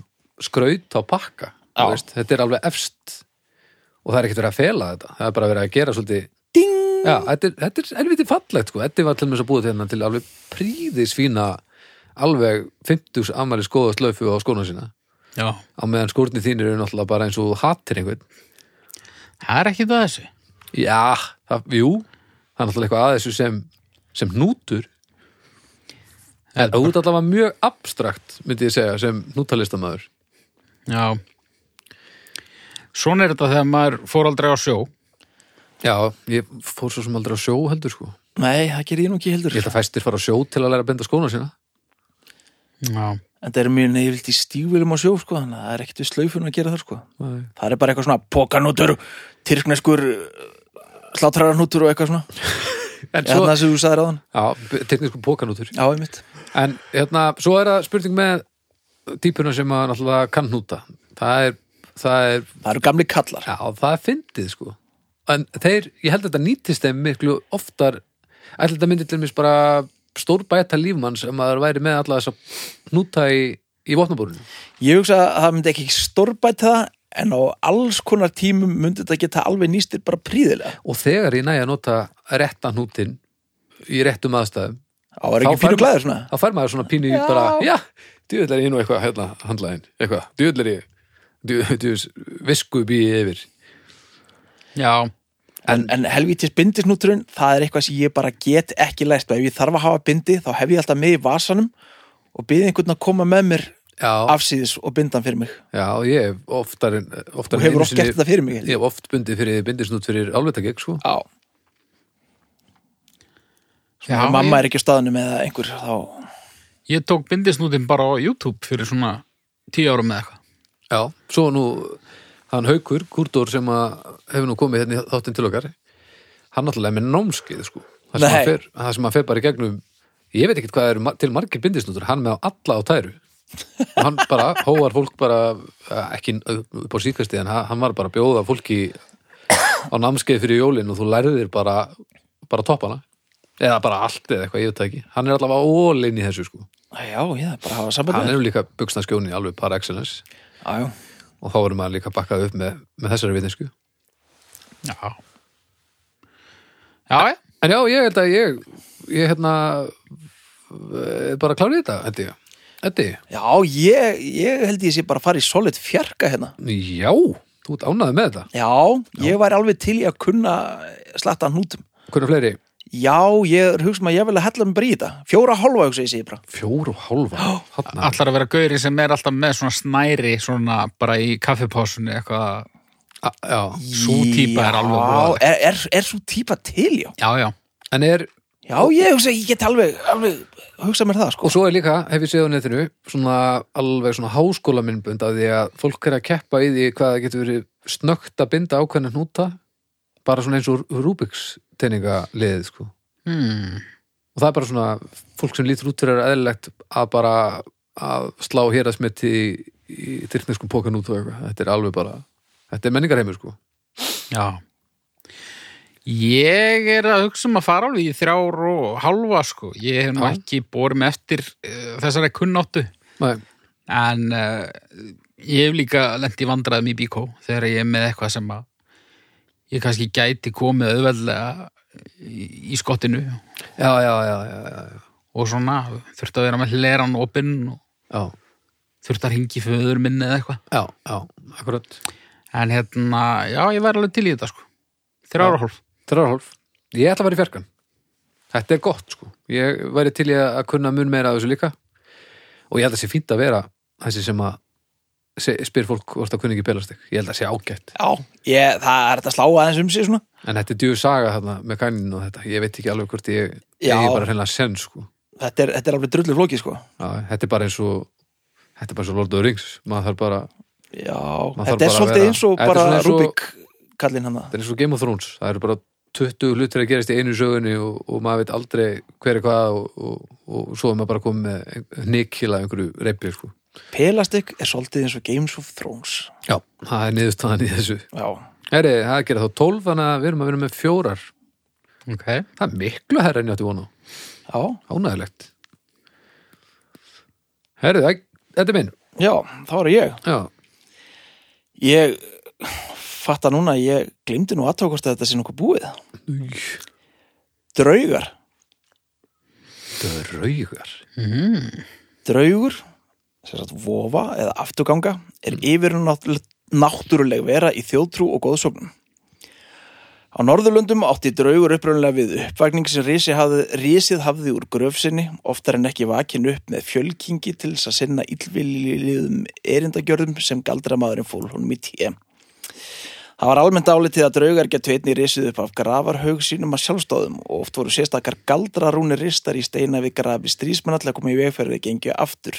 A: skraut á pakka
D: Já.
A: þú veist, þetta er alveg efst og það er ekkert verið að fela þetta það er bara verið að gera svolítið
D: Ding!
A: já, þetta, er, þetta er elviti fallegt sko. þetta var til dæmis að búið til hérna til alveg príðis fína alveg 50 afmæli skoða slöfu á skóna sína
C: Já,
A: á meðan skórni þínir eru náttúrulega bara eins og þú hatir einhvern
C: það er ekki það þessu.
A: já, það, jú það er náttúrulega eitthvað að þessu sem sem hnútur en út allavega mjög abstrakt myndi ég segja sem hnútalistamæður
C: Já. Svona er þetta þegar maður fór aldrei á sjó.
A: Já, ég fór svo sem aldrei á sjó heldur sko.
D: Nei, það gerir ég nú ekki heldur.
A: Ég held að fæstir fara á sjó til að læra að benda skóna sína.
C: Já,
D: En það er mjög neyfilt í stígvilum á sjó, sko, þannig að það er ekkert við slaufunum að gera það, sko.
A: Nei.
D: Það er bara eitthvað svona pokanútur, tyrkneskur, slátrararnútur og eitthvað svona.
A: En
D: Svo... Þannig
A: svo,
D: að þú sagðir á þann.
A: já, teknísku pókanútur.
D: Já, ég mitt.
A: En hérna, svo er það spurning með típuna sem að náttúrulega kann hnúta. Það er, það er,
D: Það eru gamli kallar.
A: já, það er fyndið sko. en þeir, ég held að þetta nýtist þeim miklu oftar ætla þetta myndi til mér bara stórbæta lífmanns ef maður væri með alla þess að hnúta í, í vopnabúrinu
D: Ég hugsa að það myndi ekki stórbæta það en á alls konar tímum myndi þetta geta alveg nýstir bara príðilega.
A: og þegar ég næja að nota rétta hnútin í réttum aðstæðum
D: Það var ekki
A: Þá fær
D: fyrir
A: ma-
D: glæður svona.
A: þá fær maður svona pínu já. bara, já, djúvill er ég nú eitthvað hérna, handlaðin, eitthvað, djúvill er ég djúvill, visku býi yfir
C: Já,
D: En, en helvítis bindisnúturinn, það er eitthvað sem ég bara get ekki lært og ef ég þarf að hafa bindi þá hef ég alltaf með í vasanum og byrði einhvern að koma með mér
A: já,
D: afsýðis og binda hann fyrir mig
A: já, ég hef oftar en oftar
D: og
A: en
D: hefur
A: einu
D: oft
A: sinni-
D: gert þetta fyrir mig
A: ég hef oft bundið fyrir bindisnút fyrir álveitagegg, sko
D: Já,
C: já
D: og mamma
C: ég,
D: er ekki á staðanum eða einhver þá
C: ég tók bindisnútin bara á YouTube fyrir svona tíu árum eða eitthvað.
A: Já, svo nú hann Haukur, Kurdur sem að hefur nú komið hérna í þáttinn til okkar hann náttúrulega er með námskeið sko það sem,
D: Nei.
A: hann fer, það sem hann fer bara í gegnum ég veit ekkert hvað eru ma- til margir bindisnútur hann með á alla á tæru og hann bara hóvar fólk bara eh, ekki upp á síkastið en ha- hann var bara að bjóða fólki á námskeið fyrir jólin og þú lærðir bara bara toppana eða bara allt eða eitthvað, ég veit það ekki hann er allavega ólinn í þessu sko
D: Já, ég þarf bara að hafa
A: hann
D: sambandi
A: er nú líka buksnaskjóni alveg par excellence
D: Já, já
A: og þá verður maður líka bakkað upp með, með þessari vitnesku
C: Já. Já, já.
A: en já, ég held að ég ég hérna eh, bara klárið þetta, held ég Eddi,
D: Já, ég, ég held ég sé bara að fara í solid fjarka hérna.
A: já, þú ert ánaðið með þetta
D: Já, ég væri alveg til í að kunna slatta hnútum.
A: hvernig fleiri?
D: Já, ég er hugsa maður að ég vil að hella mig bara í þetta. Fjóra hálfa, hugsa ég sé bara.
A: Fjór og hálfa þarna.
C: Allar að vera gauri sem er alltaf með svona snæri svona bara í kaffipásunni eitthvað.
A: A- já.
C: Sú típa er alveg
D: Já,
C: voðaleg.
D: er, er, er sú típa til, já.
C: Já, já.
A: en er,
D: Já, ég hugsa, ég get alveg, alveg hugsa mér það, sko.
A: og svo er líka hef ég séð á netinu, svona alveg svona háskóla minnbund að því að fólk er að keppa í því hvað það getur verið snögt að binda ákveðna hnúta bara svona eins og Rubiks teininga liðið sko
C: Hmm.
A: og það er bara svona fólk sem lítur út fyrir að eðlilegt að bara að slá hér að smitti í, í tyrkneskum pókan út og eitthvað þetta er alveg bara, þetta er menningarheimur sko
C: Já. Ég er að hugsa um að fara alveg í þrjár og halva sko. Ég hef nú
A: Já.
C: ekki borið með eftir uh, þessari kunnáttu.
A: Nei,
C: En uh, ég hef líka lent í vandræðum í bíkó þegar ég er með eitthvað sem að ég kannski gæti komið auðveldlega í, í skottinu
A: já, já, já, já, já, já.
C: og svona þurfti að vera með hleran opinn og
A: já,
C: þurfti að ringi föður minni eða eitthvað.
A: já, já, akkurat
C: En hérna, já, ég væri alveg til í þetta sko. Þrjár og hálf.
A: Þrjárhólf, ég ætla að vera í fjarkan þetta er gott sko ég væri til ég að kunna mun meira að þessu líka og ég held að sé fínt að vera þessi sem að se- spyr fólk hvort að kunni ekki belastek, ég held að sé ágætt
D: Já, ég, það er þetta að slá aðeins um sig, svona.
A: en þetta er djú saga þarna með kannin og þetta, ég veit ekki alveg hvort ég ég
D: Já.
A: er bara hreinlega senn sko
D: Þetta er, þetta er alveg drullu flókið, sko.
A: Já, þetta er bara eins og þetta er bara eins og Lord of the Rings maður þarf bara,
D: Já,
A: þarf
D: þetta er
A: bara að
D: svolítið
A: vera-
D: eins og
A: Þetta er
D: bara
A: svona eins og-
D: Rubik kallinn hann
A: þetta er eins og Game of Thrones það eru bara 20 hlutir að gerast í einu sögunni og, og maður veit aldrei hver er hvað og, og, og svo er maður bara komið með nikila einhverju reypi sko.
D: Pelastik er svolítið eins og Games of Thrones.
A: já, það er niðurstaðan í þessu
D: Já,
A: Heri, það er að gera þá 12 þannig að við erum að vera með fjórar
C: Okay.
A: það er miklu herra en ég átti vona
D: já,
A: ánægilegt Herri, það- þetta er minn
D: já, þá er ég.
A: já,
D: Ég fatta núna að ég glimti nú aðtókast að þetta sé nokkuð búið. Draugar.
A: draugar
D: Draugur, sem sagt vofa eða afturganga, er yfir náttúruleg vera í þjóðtrú og góðsóknum. Á Norðurlöndum átti draugur uppröðanlega við uppvakning sem risi hafði, risið hafði úr gröfsinni, oftar en ekki vakin upp með fjölkingi til þess að sinna illvilliðum erindagjörðum sem galdramaðurinn fól honum í tém. Það var almennt álitið að draugar getu einni risið upp af gravarhaug sínum að sjálfstóðum og oft voru sérstakar galdrarúnir ristar í steina við grafi strísmann að koma í vegferði að gengju aftur.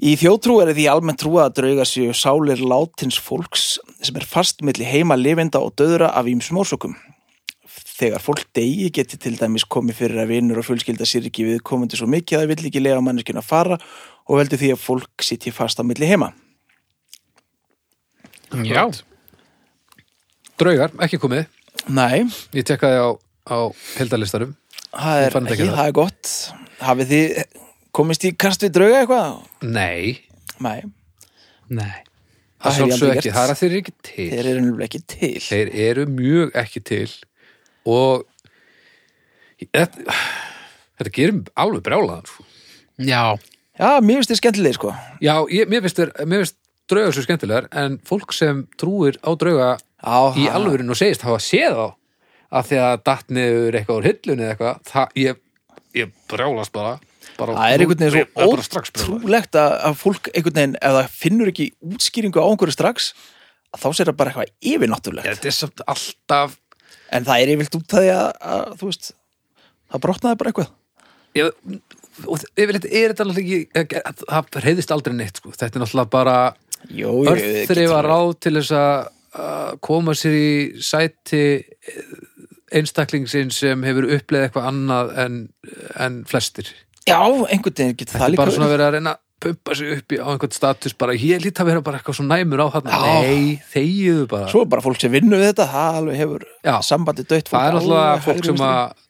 D: Í þjótrú er því almennt trúa að draugar séu sálir látins fólks sem er fast milli heima lifenda og döðra af ýmsum orsökum. Þegar fólk degi geti til dæmis komið fyrir að vinur og fjölskylda sér ekki við komandi svo mikið að það vill ekki lega manneskjuna fara og veldur því að fólk sitji fast á milli heima.
C: Já.
A: draugar, ekki komið
D: Nei,
A: ég tekkaði á, á heldalistarum
D: það
A: Ég
D: er
A: fann þetta
D: ekki,
A: ekki
D: það er gott Hafið þið komist í kast við drauga eitthvað?
A: nei,
D: Nei,
C: Nei.
A: það
D: Það hef ég
A: sjálfsög
D: aldrei
A: ekki
D: gert.
A: það er að þeir eru ekki til
D: þeir eru nefnilega ekki til
A: þeir eru mjög ekki til og þetta, þetta gerir mig alveg brjálaðan sko.
C: Já,
D: Já, mér finnst þið skemmtilegir sko
A: já, ég, mér finnst þeir- mér finnst draugar svo skemmtilegar en fólk sem trúir á drauga
D: Á,
A: í
D: ha.
A: alvörinu og segist hafa séð á að því að datt niður eitthvað úr hillunni eða eitthvað, það ég, ég brjálast bara, bara
D: Það er einhvern
A: ég- ég er
D: veginn
A: bara strax
D: svo
A: brjálast.
D: ótrúlegt að, að fólk einhvern veginn ef það finnur ekki útskýringu á einhverju strax að þá sér það bara eitthvað
A: Ég,
D: yfirnáttúrulegt
A: þetta er samt alltaf
D: en það er yfirlt út af því að, að þú veist það brotnaði bara eitthvað
A: ég, og yfirleitt er þetta alveg ekki það reyðist aldrei neitt sko. þetta er náttúrulega bara
D: Jó, ég- ég get
A: örþrifa
D: alveg-
A: ráð til þess að að koma sér í sæti einstaklingsinn sem hefur uppleið eitthvað annað en, en flestir
D: Já, einhvern veginn getur það
A: það er
D: líka
A: bara svona
D: verið.
A: að vera að reyna að pumpa sig upp í, á einhvern status bara ég lít að vera bara eitthvað svo næmur á þarna
D: Já.
A: nei, þegiðu bara
D: Svo er bara fólk sem vinnur við þetta, það alveg hefur
A: Já.
D: sambandi dött fólk
A: það er
D: alveg
A: alltaf fólk
D: hægri
A: sem
D: vinstri.
A: að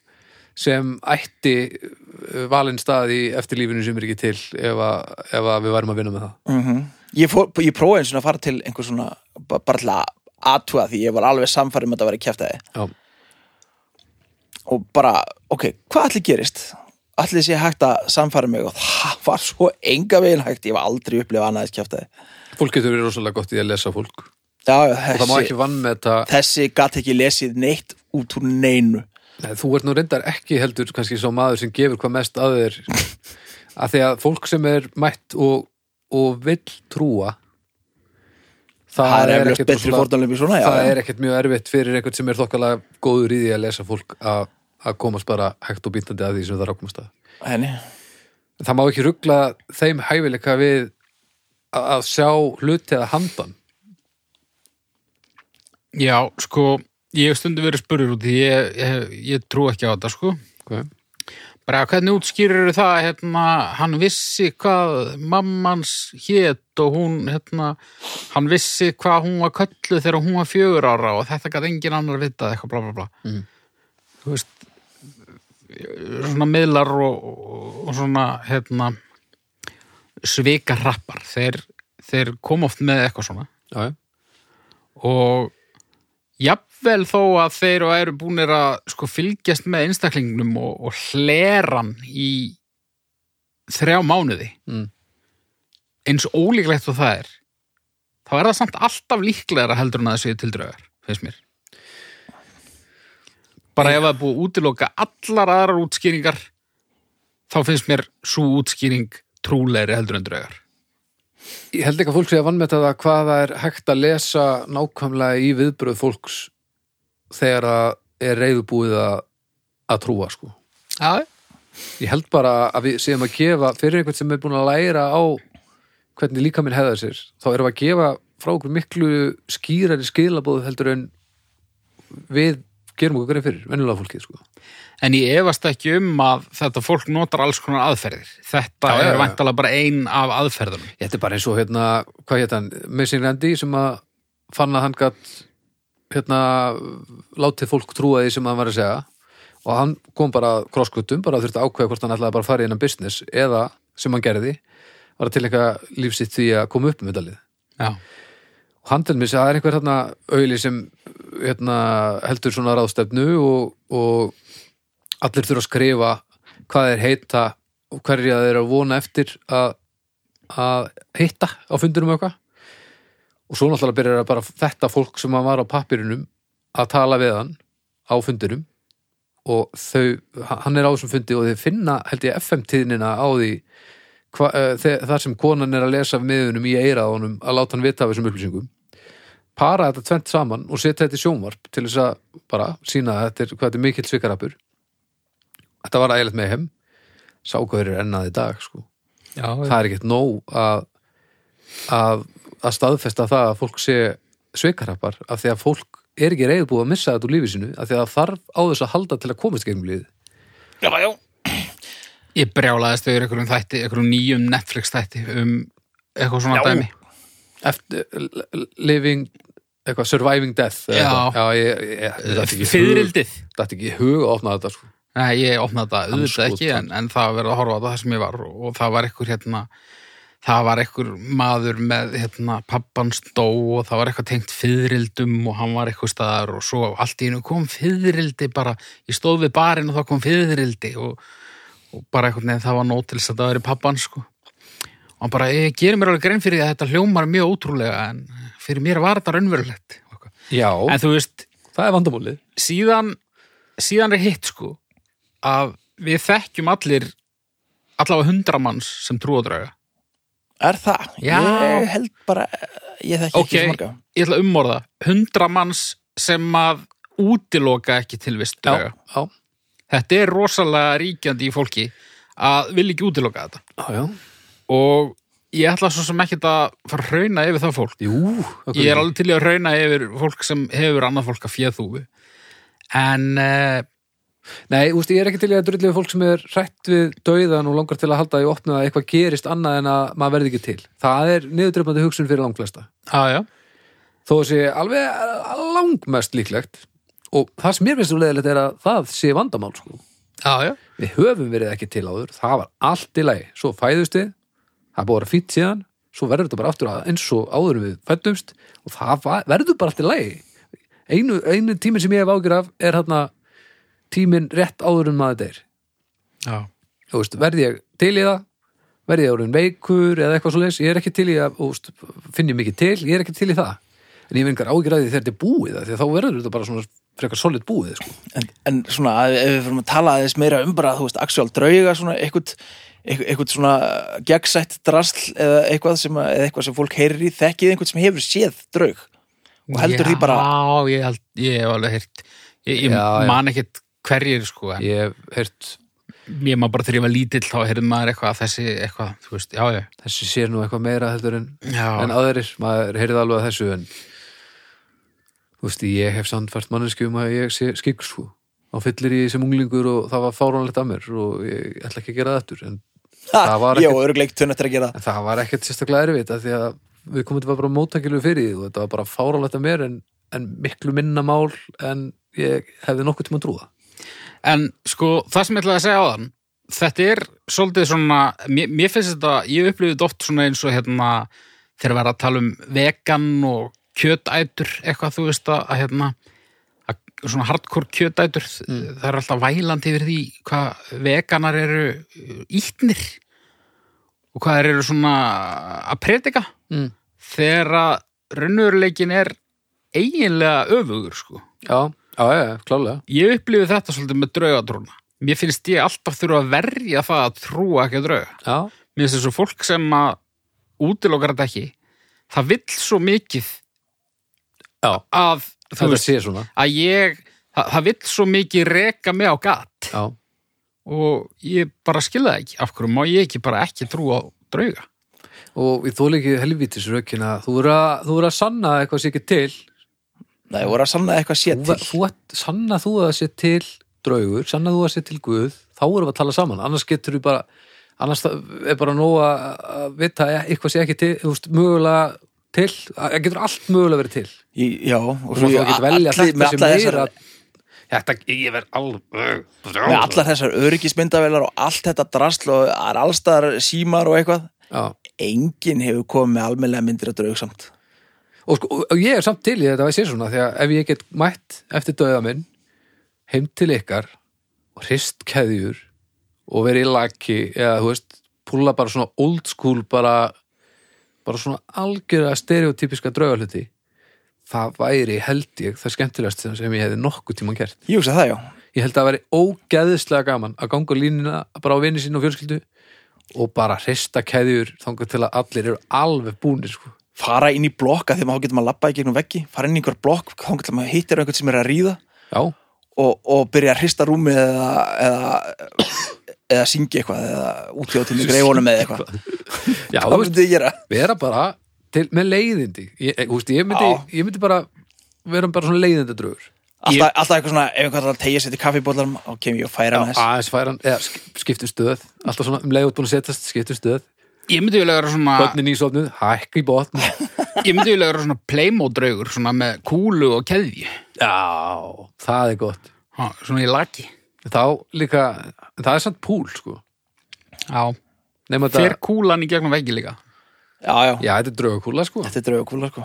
A: sem ætti uh, valinn stað í eftirlífinu sem er ekki til ef að, ef að við værum að vinna með það
D: Mhm. Ég, fór, ég prófaði eins og að fara til einhver svona, ba- bara til að aðtúa því ég var alveg samfærið með þetta að vera kjæftæði
A: Já.
D: og bara, ok, hvað allir gerist? Allir sé hægt að samfæra mig og það var svo enga veginn hægt ég var aldrei upplifað annaðis kjæftæði
A: fólk getur verið rosalega gott í að lesa fólk og
D: Já, já,
A: það má
D: þessi,
A: ekki vann með þetta
D: þessi gat ekki lesið neitt út úr neinu
A: Nei, þú ert nú reyndar ekki heldur kannski svo maður sem gefur hvað mest að þér
D: [LAUGHS]
A: að því að fólk sem er mætt og, og vill trúa það,
D: Það er eflust
A: ekkert
D: betri
A: rosalega-
D: fórnarlöfum í svona já,
A: það
D: já.
A: er ekkert mjög erfitt fyrir einhvern sem er þokkalega góður í því að lesa fólk að að komast bara hægt og býtandi að því sem það er að komast að
D: Henni,
A: En það má ekki ruggla þeim hæfileika við að að sjá hluti að handan
C: já, sko, ég hef stundu verið spurður út í, ég, ég, ég trú ekki á þetta, sko.
A: okay.
C: Bara hvernig útskýrir það, hérna, hann vissi hvað mammans hét og hún, hérna, hann vissi hvað hún var kölluð þegar hún var fjögur ára og þetta gæti engin annar vitað, eitthvað, bla, bla, bla. Mm. Þú veist, svona miðlar og, og, og svona, hérna, svikarrappar, þeir, þeir kom oft með eitthvað svona
A: Já, já.
C: og jafnvel þó að þeir og eru búinir að sko fylgjast með einstaklingnum og, og hleran í þrjá mánuði
A: Mm.
C: eins ólíklegt og það er þá er það samt alltaf líklegra heldur en að það séu til draugar, finnst mér bara ef það er búið að útiloka allar aðrar útskýringar þá finnst mér svo útskýring trúlegri heldur en draugar
A: Ég held ekki að fólk sé að vannmeta það hvað það er hægt að lesa nákvæmlega í viðbröð fólks þegar að er reyðubúið að, að trúa sko.
C: Já,
A: Ég held bara að við séum að gefa fyrir einhvern sem er búin að læra á hvernig líka minn hefðar sér þá erum við að gefa frá okkur miklu skýrari skilabóð heldur en við gerum okkur greið fyrir, venjulega fólkið sko.
C: En ég efast ekki um að þetta fólk notar alls konar aðferðir. Þetta
A: Já, já,
C: er
A: já.
C: væntalega bara ein af aðferðunum.
A: Þetta er bara eins og hérna, hvað hétt hann, Missing Randy sem að fann að hann gatt hérna, látið fólk trúa því sem hann var að segja og hann kom bara að krosskutum, bara þurfti að ákveða hvort hann ætlaði bara að fara í hennan business eða sem hann gerði, var að tilhenga lífsitt því að koma upp um þetta lið
C: Já.
A: og hann til mér að það er einhver hérna auðli sem hérna, heldur svona ráðstefnu og, og allir þurfa að skrifa hvað þeir heita og hverja þeir eru að vona eftir að, að hitta á fundunum eitthvað og svo náttúrulega byrjar að bara þetta fólk sem hann var á pappirunum að tala við hann á fundunum og þau, hann er á þessum fundi og þau finna held ég FM-tíðnina á því hva, uh, þar sem konan er að lesa af miðunum í eirað á honum að láta hann vita af þessum upplýsingum para þetta tvent saman og setja þetta í sjónvarp til þess að bara sína að þetta er, hvað þetta er mikill svikarapur þetta var ægilegt með heim sákvæður er ennað í dag sko.
C: Já,
A: það er ekkert nóg að, að, að staðfesta það að fólk sé svikarapar af því að fólk er ekki reyðbúið að missa þetta úr lífi sínu af því að það þarf á þess að halda til að komast gegnum lífið
D: já, já.
C: Ég brjálaðist yfir einhverjum þætti, einhverjum nýjum Netflix þætti um eitthvað svona
D: Já.
C: dæmi.
A: Eftir, living eitthvað Surviving Death eða
C: Já.
A: eitthvað. já ég, ég, ég, mér datt ekki í hug-
C: Fyririldið
A: datt ekki í hug að opna þetta sko.
C: Nei, ég opnaði þetta auðvitað
A: Andskot,
C: ekki en, en það var verið að horfa á það sem ég var og, og það var ekkur hérna það var ekkur maður með hérna, pappans dó og það var eitthvað tengt fyririldum og hann var eitthvað staðar og svo allt í hennu kom fyririldi bara, ég stóð við barinn og þá kom fyririldi og, og bara eitthvað neðan það var nótilis að það veri pappans sko og hann bara, ég gerir mér alveg grein fyrir því að þetta hljómar mjög ótrúlega en fyrir mér var þetta raunverulegt og eitthvað.
A: já,
C: en þú veist,
A: það er vandamúlið
C: síðan, síðan er hitt sko að við þekkjum allir allavega hundra manns sem trú á drauga
D: Er það?
C: Já.
D: Ég held bara, ég þekki
C: Ok.
D: ekki svo marga.
C: ég ætla að umorða, hundra manns sem að útiloka ekki tilvist
A: já,
C: drauga
A: já,
C: þetta er rosalega ríkjandi í fólki að vil ekki útiloka þetta
A: já, já.
C: og ég ætla svo sem ekki að fara að rauna yfir það fólk
A: Jú, af hverju
C: ég er
A: ekki?
C: alveg til í að rauna yfir fólk sem hefur annað fólk að fjöðúfi en uh,
A: Nei, úst, ég er ekki til í að drullu við fólk sem er hrætt við dauðan og langar til að halda í opnu að eitthvað gerist annað en að maður verði ekki til. Það er niðurdröfnandi hugsun fyrir langflesta.
C: já, já,
A: Þó sé alveg langmest líklegt og það sem mér finnst um leðilegt er að það sé vandamál sko.
C: já, já
A: Við höfum verið ekki til áður, það var allt í lagi. Svo fæðust við, það er búið að vera fýtt síðan, svo verður þetta bara aftur að- eins og áður en við fættumst og það va- verður bara allt í lagi. Einu, einu tíminn sem ég hef ágjur af er hérna tíminn rétt áður en maður deyr
C: já,
A: þú veist, verði ég til í það verði ég orðin veikur eða eitthvað svo leis ég er ekki til í að, þú veist, finn ég mikið til ég er ekki til í það en ég vengar ágjur að því þegar þetta er búið af því að þá verður þetta bara svona frekar solid búið sko.
D: En, en svona, ef- ef við fyrir að tala aðeins meira um bara, þú veist, actual drauga, svona, eitthvað, eitthvað, eitthvað svona gegnsætt drasl eða eitthvað sem, að- eða eitthvað sem fólk heyrir í, þekkið einhvern sem hefur séð draug og heldur því bara,
C: Já, ég, held, ég hef alveg heyrt Ég, ég
A: Já, já.
C: man ekkert hverjir sko en
A: ég hef heyrt,
C: Ég man bara þegar ég var lítill þá heyrði maður eitthvað að þessi eitthvað, þú veist, já, já
A: þessi sér nú eitthvað meira heldur en,
C: Já,
A: en aðrir maður heyrði alveg að þessu en þú veist, ég hef sannfært manneskjum um að ég sé skikk sko á fyllir í sem unglingur og það var fáránlegt að mér og ég ætla ekki að gera það eftir en
D: [LAUGHS]
A: það
D: ha,
A: var
D: ég
A: ekkert-
D: og örgleikt tunn eftir að gera það.
A: En það var ekkert sérstaklega erfitt af því að við komum til að bara móttakilu fyrir því og þetta var bara fáralegt að mér en, en miklu minna mál en ég hefði nokkuð tíma að trúða.
C: En sko, það sem ég ætlaði að segja á þann Þetta er svolítið svona Mér, mér finnst þetta, ég upplifði þetta oft svona eins og hérna þegar verða að tala um vegan og kjötætur eitthvað, þú veist að, að hérna að, svona hardcore kjötætur það er alltaf vælandi yfir því hvað veganar eru ítnir og hvað þeir eru svona að predika
A: Mm.
C: þegar að raunveruleikin er eiginlega öfugur sko
A: Já, já, já, já, klálega.
C: ég upplifi þetta svolítið með draugatrúna mér finnst ég alltaf þurfa að verja það að trúa ekki að drauga
A: Já,
C: mér finnst þessu fólk sem að útilokar þetta ekki það vill svo mikið
A: já.
C: að, þú
A: Þetta
C: veist,
A: sé svona.
C: að ég það, það vill svo mikið reka mig á gatt
A: Já,
C: og ég bara skilða ekki af hverju má ég ekki bara ekki trúa á drauga
A: og ég þóla ekki helvítis rökin að þú eru að, þú eru að sanna að eitthvað sé ekki til.
D: Nei, voru að sanna eitthvað
A: Þú,
D: séð til.
A: þú ert, sanna þú að það sé til draugur, sanna þú að það sé til Guð, þá erum við að tala saman. Annars getur við bara, annars er bara nóg að að vita að eitthvað sé ekki til, þú veist, mögulega til, að getur allt mögulega verið til.
D: Í, já, og
A: og
D: svo
A: þú getur velja
D: allir-
A: þetta
D: með
A: sem
D: allar
A: meira
D: þessar,
A: Þetta, ég verð alveg
D: með allar þessar örgismyndavelar og allt þetta drasl og það er allstaðar símar og eitthvað,
A: Já.
D: enginn hefur komið með almennlega myndir að draug samt.
A: og, sko, og- og ég er samt til í þetta að ég sé svona því að ef ég get mætt eftir döða minn heim til ykkar og hrist keðjur og verið í laki eða þú veist, púla bara svona old school bara, bara svona algjörða stereotypiska draugaluti það væri held ég það skemmtilegast sem ég hefði nokkuð tíma gert
D: Ég hugsa það, já.
A: ég held að það væri ógeðislega gaman að ganga á línina bara á vinni sín og fjölskyldu og bara hrista keðjur þangar til að allir eru alveg búnir sko.
D: fara inn í blokka þegar maður getur maður að labba í gegnum veggi fara inn í einhver blokk, þá getur maður hittir einhvern sem er að ríða
A: já,
D: og, og byrja að hrista rúmið eða eða, eða syngja eitthvað eða útjóð til greifunum eða eitthvað
A: já
D: það
A: þú veist,
D: myndi ég gera
A: vera bara til, með leiðindi ég, ég, þú veist, ég,
D: Já.
A: myndi, ég myndi bara vera bara svona leiðindadrögur
D: alltaf, alltaf eitthvað svona, ef einhvern veginn tegja sér til kaffibóllar þá kem ég og færa hann þess
A: aðeins færan, eða sk- skiptum stöð alltaf svona um leiðut búin að setjast, skiptum stöð
C: ég myndi vilja vera svona
A: börnin í sofnuð, hækk í botn
C: Ég myndi vilja vera svona playmódraugur, svona með kúlu og keðju,
A: Já, það er gott.
C: ha, svona í laki.
A: Þá líka, það er samt púl, sko.
C: Já,
A: Nefnum að
C: fer kúlan í gegnum veggi líka.
D: já, já,
A: já, þetta er draugakúla, sko.
D: þetta er draugakúla sko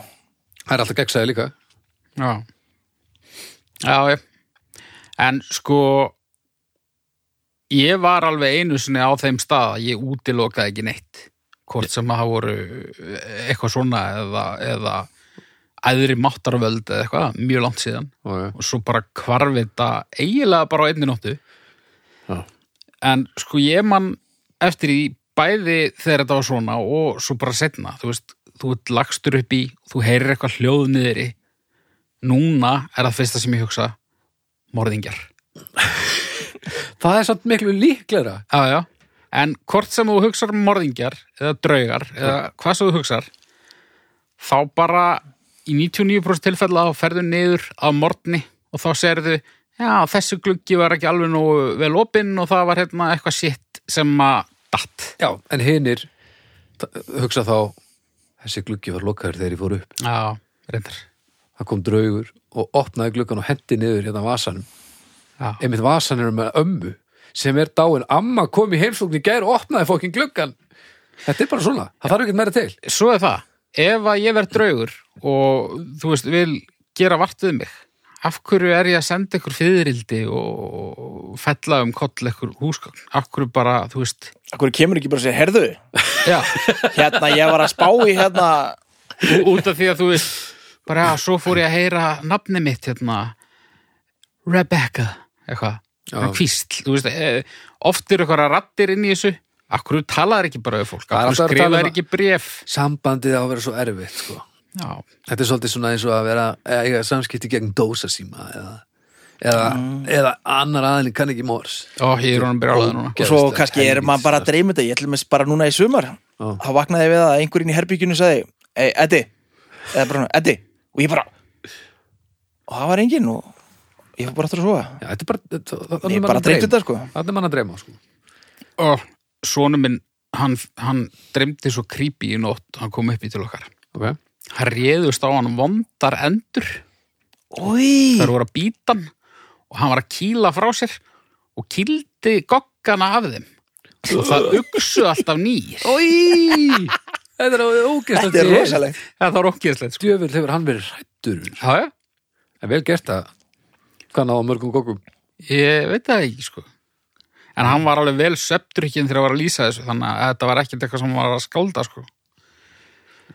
A: Það er alltaf gegnsæði líka.
C: Já. Já, já. En sko, ég var alveg einu sinni á þeim stað að ég útilokaði ekki neitt. Hvort sem að það voru eh, eitthvað svona eða, eða æðri máttarvöld eða eitthvað, mjög langt síðan.
A: Ó, já.
C: Og svo bara hvarf þetta eiginlega bara á einni nóttu.
A: Já.
C: En sko, ég man eftir í bæði þegar þetta var svona og svo bara setna. Þú veist, þú ert lagstur upp í, þú heyrir eitthvað hljóð niðri núna er það fyrsta sem ég hugsa morðingjar
A: Það er samt miklu líklegra.
C: já, já. en hvort sem þú hugsar um morðingjar eða draugar eða hvað sem þú hugsar þá bara í 99% tilfella þá ferðu niður að morgni og þá serðu já, þessu gluggi var ekki alveg nógu vel opinn og það var hérna eitthvað sitt sem að datt
A: Já, en hinnir hugsa þá, þessi gluggi var lokaður þegar ég fór upp.
C: já, reyndar
A: Það kom draugur og opnaði gluggan og hendi niður hérna vasanum.
C: já,
A: Einmitt vasan er með ömmu sem er dáin. Amma kom í heimsókn í gær og opnaði fókin gluggan. Þetta er bara svona. Það þarf ekkert meira til.
C: svo er það ef að ég verð draugur og þú veist, vil gera vart við mig af hverju er ég að senda ykkur fyririldi og fella um koll ykkur húsgögn, af hverju bara þú veist,
D: Akkur kemur ekki bara að segja, herðu,
C: já
D: hérna ég var að spá í hérna
C: ú- út af því að þú veist bara já, svo fór ég að heyra nafni mitt hérna Rebecca, eitthvað
A: Já.
C: Svona hvísl, þú veist, eh, oft eru eitthvað rattir inn í þessu, af hverju talaðar ekki bara við fólk,
A: Það er
C: af
A: alltaf
C: hverju
A: að tala um
C: skrifaðar
A: að-
C: ekki bref
A: Sambandið á að vera svo erfitt, sko.
C: já,
A: Þetta er svolítið svona eins og að vera eða eiga samskipti gegn dósasíma eða, eða, eða annar aðlinn kann ekki mors.
C: Ó, ég er honum byrjaðið núna
D: og svo kannski er maður bara að dreyma þetta ég ætlum að bara núna í sumar þá vaknaði ég við að einhverjinn í herbyggjunni sagði ei, Eddi, eða bara svona, Eddi og ég bara og það var enginn og ég var bara aftur að sofa
A: Já, þetta er bara, þetta-
D: ég
A: þarna er
D: bara
A: bara
D: dreymdi þetta sko
A: Þannig mann að dreyma, sko.
C: og sonu minn hann, hann dreymdi svo creepy í nótt hann kom upp í til okkar
A: Okay.
C: hann réðust á hann vondar endur
D: Új,
C: þær voru að býta hann og hann var að kýla frá sér og kýldi goggana af þeim og það uksu alltaf nýr
A: Í, þetta er ógæst
D: þetta er rosalegt
C: það var okkjöðslegt sko.
A: Djöfull hefur hann verið rættur.
C: já, já,
A: En vel gert að kann á mörgum kokkum.
C: ég veit það ekki sko en hann var alveg vel söpdrykkin þegar hann var að lýsa þessu þannig að þetta var ekkert eitthvað sem hann var að skálda sko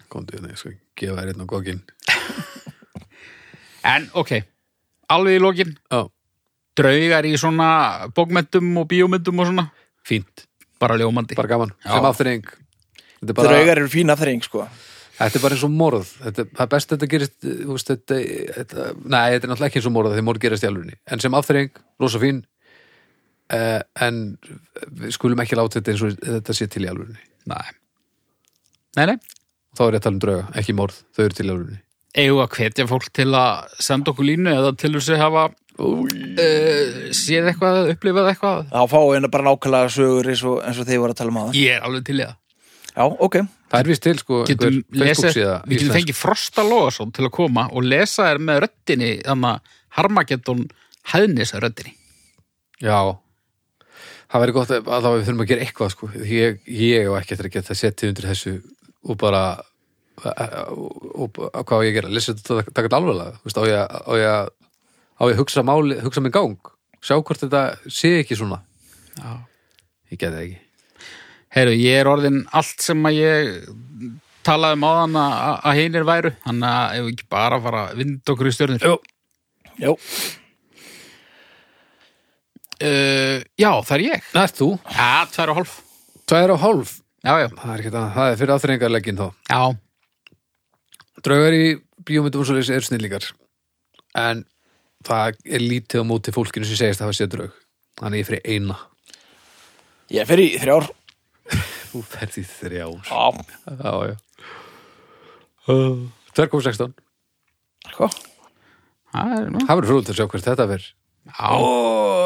A: Komdu hérna, ég skal gefa þér einn á kokkin.
C: en ok, alveg í lokin
A: Já,
C: draugar í svona bókmentum og bíómyndum og svona
A: fínt.
C: bara ljómandi
A: Bara gaman.
C: Já.
A: Sem afturreng. Þetta er bara,
D: draugar eru fín afþreying sko
A: þetta er bara eins og morð. Þetta, það er best að þetta gerist, þú veist, þetta, þetta, nei, þetta er náttúrulega ekki eins og morð þegar morð gerast í alvörinni. En sem afturreng, rosa fín, uh, en við skulum ekki láta þetta eins og þetta sé til í alvörinni.
C: Nei. Nei, nei.
A: Þá er ég að tala um drauga, ekki morð, þau eru til í alvörinni.
C: Eigum við að hvetja fólk til að senda okkur línu eða til þess að hafa uh, séð eitthvað, eða upplifað eitthvað.
D: þá fáum við hérna bara nákvæmlega sögur eins og, eins og þeir voru að tala um aða
C: Ég er alveg til í það.
D: já, ok,
A: Það er vist til, sko,
C: Getum lesið,
A: síða.
C: við getum fengið Frosta Lóðarsson til að koma og lesa þér með röddinni, þannig að Harmageddon hæðnis að röddinni.
A: Já. Það verður gott að að þá við þurfum að gera eitthvað, sko. Ég, ég og ekki eftir að geta setið undir þessu og bara og, og, og hvað á ég að gera? Lesa þetta taka þetta alveglega, þú veist, á ég, að- á ég að á ég að hugsa máli, hugsa minn gang sjá hvort þetta sé ekki svona
C: Já.
A: Ég geti það ekki.
C: Heyrðu, ég er orðin allt sem að ég talaði um áðan að, að hinir væru, þannig að ef við ekki bara að fara að vinda okkur í stjörnur.
A: Jó.
D: já
C: Uh, já, það er ég.
A: Næst þú,
C: Já, tvær og hálf.
A: tvær og hálf
C: Já, já.
A: það er, ekki, það er fyrir aðþrengarleggin þá
C: Já,
A: draugar í bíómyndum og svoleiðis eru snillingar en það er lítið á móti fólkinu sem segist að hafa séð draug þannig ég fyrir eina
D: ég fer í þrjár
A: þú ferð í þrjár
D: já,
A: já, Eh, já 2.16
D: hvað?
C: það er nú.
A: það verður fróðult að sjá hvert þetta verður
C: Já,
A: ó,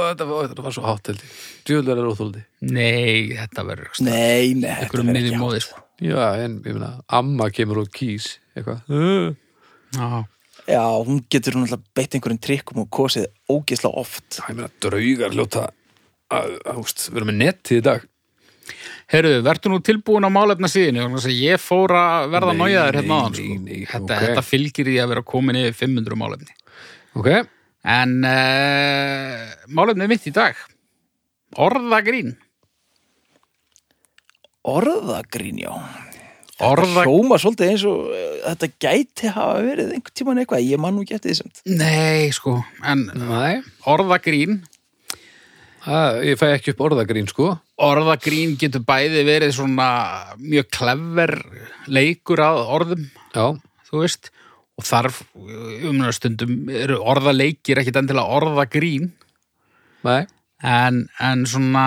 A: þetta var, þetta var svo hátt held ég djúðlega er óþóldi
C: nei, þetta verður
D: nei, nei, þetta
C: einhverjum
D: fer
C: miðjum
D: ekki á.
C: móði sko.
A: já, en ég meina, amma kemur og kýs eitthvað
C: Já,
D: Já, hún getur hún alltaf beitt einhverjum trikkum og kosið ógisla oft.
A: Það er meina draugar ljóta að, að, úst, við erum með netti í dag
C: Heyrðu, verður nú tilbúin á málefna síðinu vegna þess að ég fór að verða
A: Nei,
C: nájaður hérna
A: nei,
C: áðan sko.
A: nei, nei,
C: þetta,
A: ok.
C: þetta fylgir því að vera komin yfir 500 málefni
A: Ok,
C: En uh, málefnið mitt í dag Orðagrín
D: Orðagrín, já.
C: Orða...
D: Hjóma svolítið eins og eh, þetta gæti hafa verið einhvern tíman eitthvað. Ég man nú getið því semt.
C: Nei, sko, en
A: næ
C: orðagrín
A: að, Eh, Ég fæ ekki upp orðagrín sko
C: Orðagrín getur bæði verið svona mjög klefver leikur að orðum
A: Já,
C: þú veist og þarf umstundum eru orðaleikir ekkit endilega orðagrín
A: næ
C: en, en svona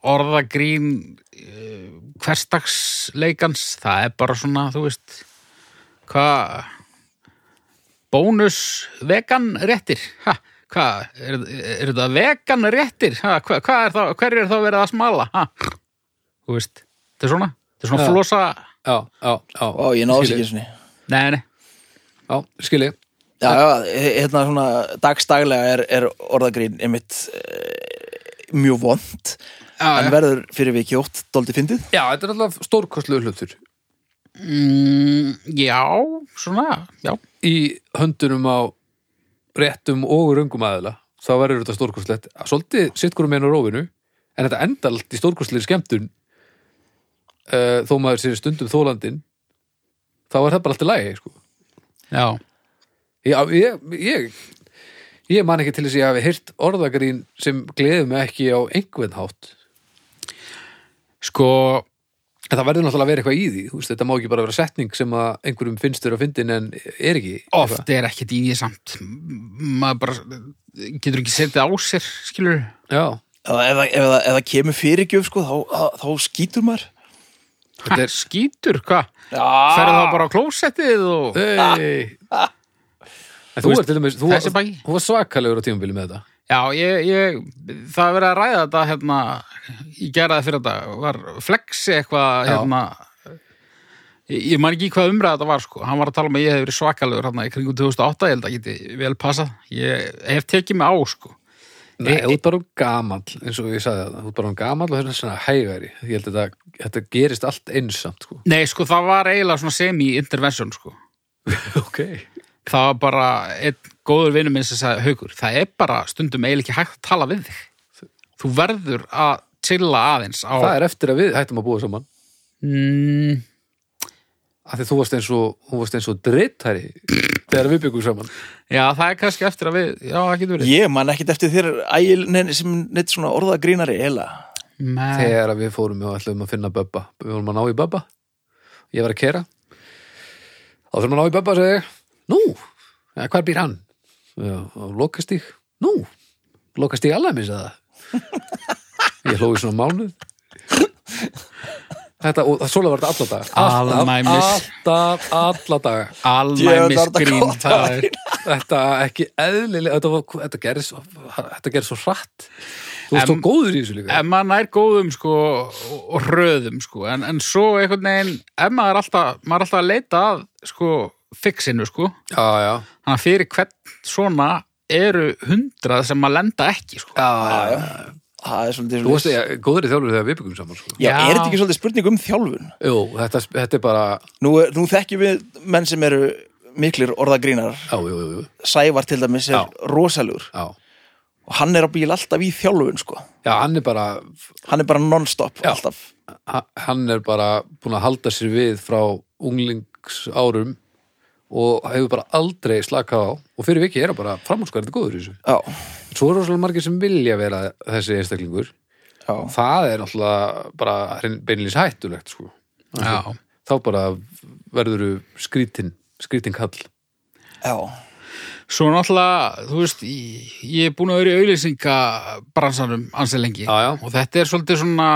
C: orðagrín uh, hverstagsleikans það er bara svona, þú veist hvað bónus vegan réttir ha, hvað, er, er þetta vegan réttir, ha, hva, hvað er það hver er það verið að smala ha? þú veist, þetta er svona þetta er svona
A: Já.
C: flosa,
A: Já, já, já
D: Ó, ég náði
A: Skil
D: sér
A: ég.
D: ekki svona.
C: nei, nei
A: Já, skil ég
D: Já, já, he- hérna svona dagstaglega er, er orðagrín einmitt eh, mjög vond.
C: Já,
D: en
C: já.
D: verður fyrir vikið ótt dóldi fyndið.
A: Já, þetta er alltaf stórkostlegu hlutur
C: Mm, já, svona, já.
A: í höndunum á réttum og röngum aðila þá verður þetta stórkostlegt svolítið sitt hverju meina rófinu en þetta enda allt í stórkostlegri skemmtun uh, þó maður sér stundum þólandin þá er það bara allt í lagi sko.
C: Já,
A: Já, ég, ég, ég man ekki til þess að ég hafi heyrt orðagrín sem gleði mig ekki á einhvern hátt.
C: sko,
A: En það verður náttúrulega að vera eitthvað í því, þú veist, þetta má ekki bara vera setning sem að einhverjum finnst þér að fyndin en er ekki.
C: oft er ekkert í því samt. M- Maður bara getur ekki setið á sér, skilur.
A: Já,
D: Ef, það- ef, það- ef það kemur fyrirgjöf sko, þá, þá- þá skýtur maður.
C: Þetta er skítur, hvað?
D: Já.
C: Ferðu þá bara á klósettið og...
A: hei! En þú
C: Þú veist,
A: er til dæmis, þú
C: þessi bæ-
A: þú var svakalegur á tímabili með þetta.
C: Já, ég, ég, það er verið að ræða þetta hérna, ég gera það fyrir þetta, var flexi eitthvað
A: Já.
C: hérna, ég, ég man ekki í hvað umræða þetta var sko, hann var að tala um að ég hef verið svakalögur hérna í kringum 2008, ég held að geti vel passað, ég hef tekið mig á sko.
A: Nei, þú ert bara um gamall, eins og ég sagði það, þú ert bara um gamall og þetta er svona hægari. Ég held að þetta, þetta gerist allt einsamt, sko.
C: Nei, sko, það var eiginlega svona semi-intervention, sko.
A: ok.
C: Það var bara einn góður vinur minn sem sagði, Haukur, það er bara stundum eiginlega ekki hægt að tala við þig. Þú verður að chilla aðeins á...
A: Það er eftir að við hættum að búa saman.
C: Mm,
A: að því þú varst eins og, hún varst eins og drittari þegar við byggum saman
C: já, það er kannski eftir að við... Já, það getur verið.
D: Ég man ekkert eftir þér ægil nein, sem neitt svona orðagrínari heila.
C: Yeah.
A: þegar að við fórum og ætlum að finna Bubba við vorum að ná í Bubba ég var að kera þá þurfum að ná í Bubba segi ég nú, ja, hvar býr hann? Já, á lokastík nú, lokastík alveg minns
C: [LAUGHS]
A: að það ég hlói svona mánuð þetta, og svolega var þetta alla daga
C: Alnæmis.
A: alltaf, alltaf, alla daga
C: Alnæmis grín, það er...
A: þetta ekki eðlilega þetta, var- þetta gerði svo, þetta gerði svo hratt þú varst
C: Em-
A: svo góður í þessu líka
C: Ef maður nær góðum, sko, og- og röðum, sko, en, en svo einhvern veginn, ef maður er alltaf, maður er alltaf að leita að, sko, fixinu, sko,
A: já, já,
C: þannig að fyrir hvern svona eru hundrað sem að lenda ekki sko.
A: já, já, já.
D: Það er svolítið...
A: þú varst ja, góður í þjálfur þegar við byggum saman sko.
D: Já,
C: Já.
D: er þetta ekki svolítið spurning um þjálfun?
A: Jú, þetta, þetta er bara
D: Nú, er- nú þekkjum við menn sem eru miklir orðagrínar.
A: já, jú, jú, jú,
D: Sævar til dæmis er
A: Já.
D: rosalur.
A: já.
D: Og hann er á bíl alltaf í þjálfun, sko.
A: já, hann er bara
D: Hann er bara non-stop
A: Já.
D: alltaf.
A: ha- hann er bara búin að halda sér við frá unglingsárum og hefur bara aldrei slakað á og fyrir viki er hann bara framhúskarandi góður í þessu
D: Já,
A: svo eru rosalega margir sem vilja vera þessi einstaklingur
D: já.
A: það er náttúrulega bara hrein- beinlýs hættulegt sko.
C: Já.
A: þá bara verður skrítin skrítin kall
D: Já,
C: Svo náttúrulega, þú veist, ég, ég er búin að vera í auðlýsingabransanum ansi lengi
A: Já, já.
C: og þetta er svolítið svona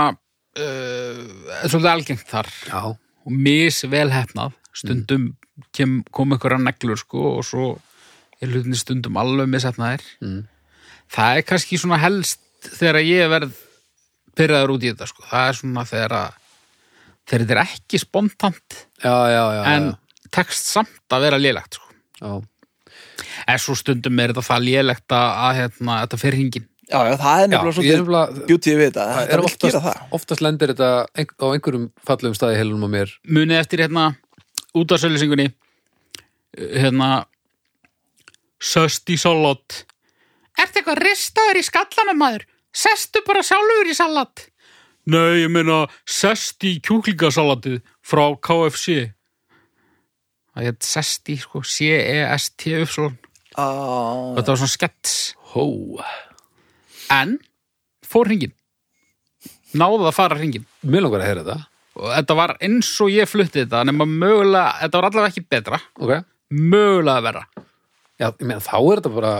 C: uh, svolítið algengt þar
A: já,
C: og misvel hefnað stundum kem, kom einhverja neglur sko og svo er hlutinni stundum alveg mishefnaðir
A: Mm.
C: það er kannski svona helst þegar ég verð pyrraður út í þetta sko, það er svona þegar að þegar þetta er ekki spontant
A: já, já, já,
C: en
A: já.
C: tekst samt að vera lélegt sko.
A: já,
C: en svo stundum er þetta það lélegt að, að hérna, þetta fer hringin
D: Já, já, það er
A: já
D: nefnilega
A: ég er
D: svolítið
A: nefnilega
D: beauty við þetta,
A: það
D: þetta
A: er
D: vil gera
A: oftast,
D: það
A: oftast lendir þetta ein, á einhverjum fallegum staði í heilunum á mér
C: munið eftir hérna út af sölusingunni hérna söst í salat Ertu eitthvað ristaður í skallanum maður? Sestu bara sjálfur í salat Nei, ég meina sest í kjúklingasalatið frá KFC Það hétt sest í sko C-E-S-T uppsvon
D: ah,
C: Þetta var svona skets
A: hó,
C: En fór hringin Náða að fara hringin
A: mér langar að heyra þetta
C: og þetta var eins og ég flutti þetta nema mögulega, þetta var allavega ekki betra
A: ok,
C: mögulega verra
A: já, ég meina þá er þetta bara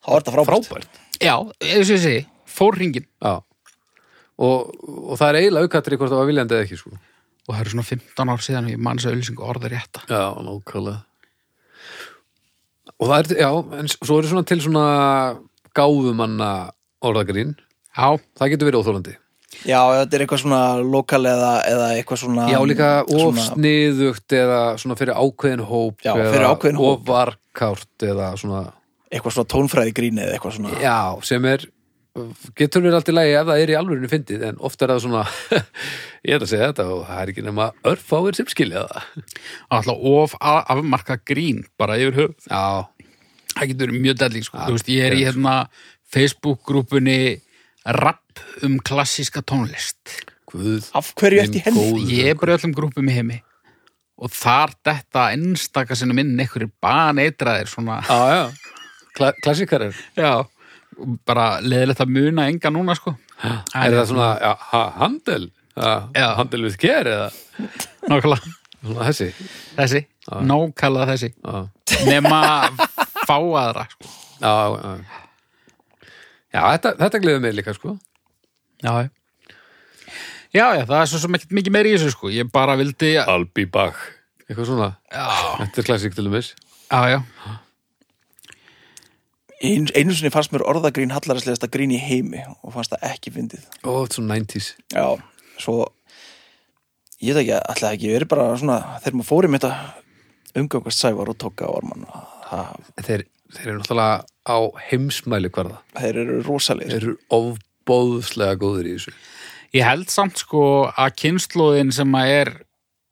D: Þá er þetta frábært
A: frábært
C: já, eins og ég segi, fór hringin
A: já og, og það er eiginlega aukatri hvort það var viljandi eða ekki sko
C: og það eru svona 15 ár síðan og ég manns að auðlýsingu orða rétta
A: Já, nákvæmlega Og það er, já, en s- svo er svona til svona gáfumanna orðagrín
C: já,
A: Það getur verið óþólandi
D: Já, þetta er eitthvað svona lokal eða, eða eitthvað svona
A: Já, líka of
D: svona-
A: sniðugt eða svona fyrir ákveðin hóp
D: Já,
A: eða
D: fyrir ákveðinn hóp.
A: Of varkárt eða svona
D: eitthvað svona tónfræði gríni eða eitthvað svona
A: Já, sem er getur verið allt í lagi ef það er í alvörinu fyndið en oft er það svona [LAUGHS] ég er að segja þetta og það er ekki nema örfáir sem skilja það
C: alltaf of a- afmarka grín bara yfir höf
A: Já,
C: það getur verið mjög delling sko. Þú veist, ég er í hérna Facebook-grúpunni rapp um klassíska tónlist
A: guð
D: Af hverju ert í
A: minn
D: henni?
A: góður.
C: ég er bara í öllum grúpum í heimi og þar detta einstaka sinni minn einhverjir baneitraðir svona
A: Já, já, Kla klassikarar
C: Já, bara leðilegt að muna enga núna sko
A: Er það svona, já, ha, handel? Ha,
C: Já.
A: Handel við ker eða
C: Nákvæmlega
A: svona þessi?
C: þessi, nákvæmlega þessi
A: Já,
C: Nema fáaðra sko.
A: já, já. Já, þetta, þetta gleður mig líka, sko.
C: Já, já Já, já, það er svo sem ekkert mikið meir í þessu sko Ég bara vildi Já,
A: I'll be back. Eitthvað svona. Þetta er klassík til dæmis.
C: já, já,
D: Einu, einu sinni fannst mér orðagrín hallaræslegasta grín í heimi og fannst það ekki fyndið
A: Ó, þetta er svona 90s.
D: Já, svo ég veit ekki að alltaf ekki verið bara svona þegar maður fór í mitt að umgangast sævar og tóka á orman það,
A: En Þeir, þeir eru náttúrulega á heimsmæli hverða.
D: þeir eru rosalegir
A: Þeir eru ofbóðslega góður í þessu.
C: Ég held samt sko að kynnslóðin sem að er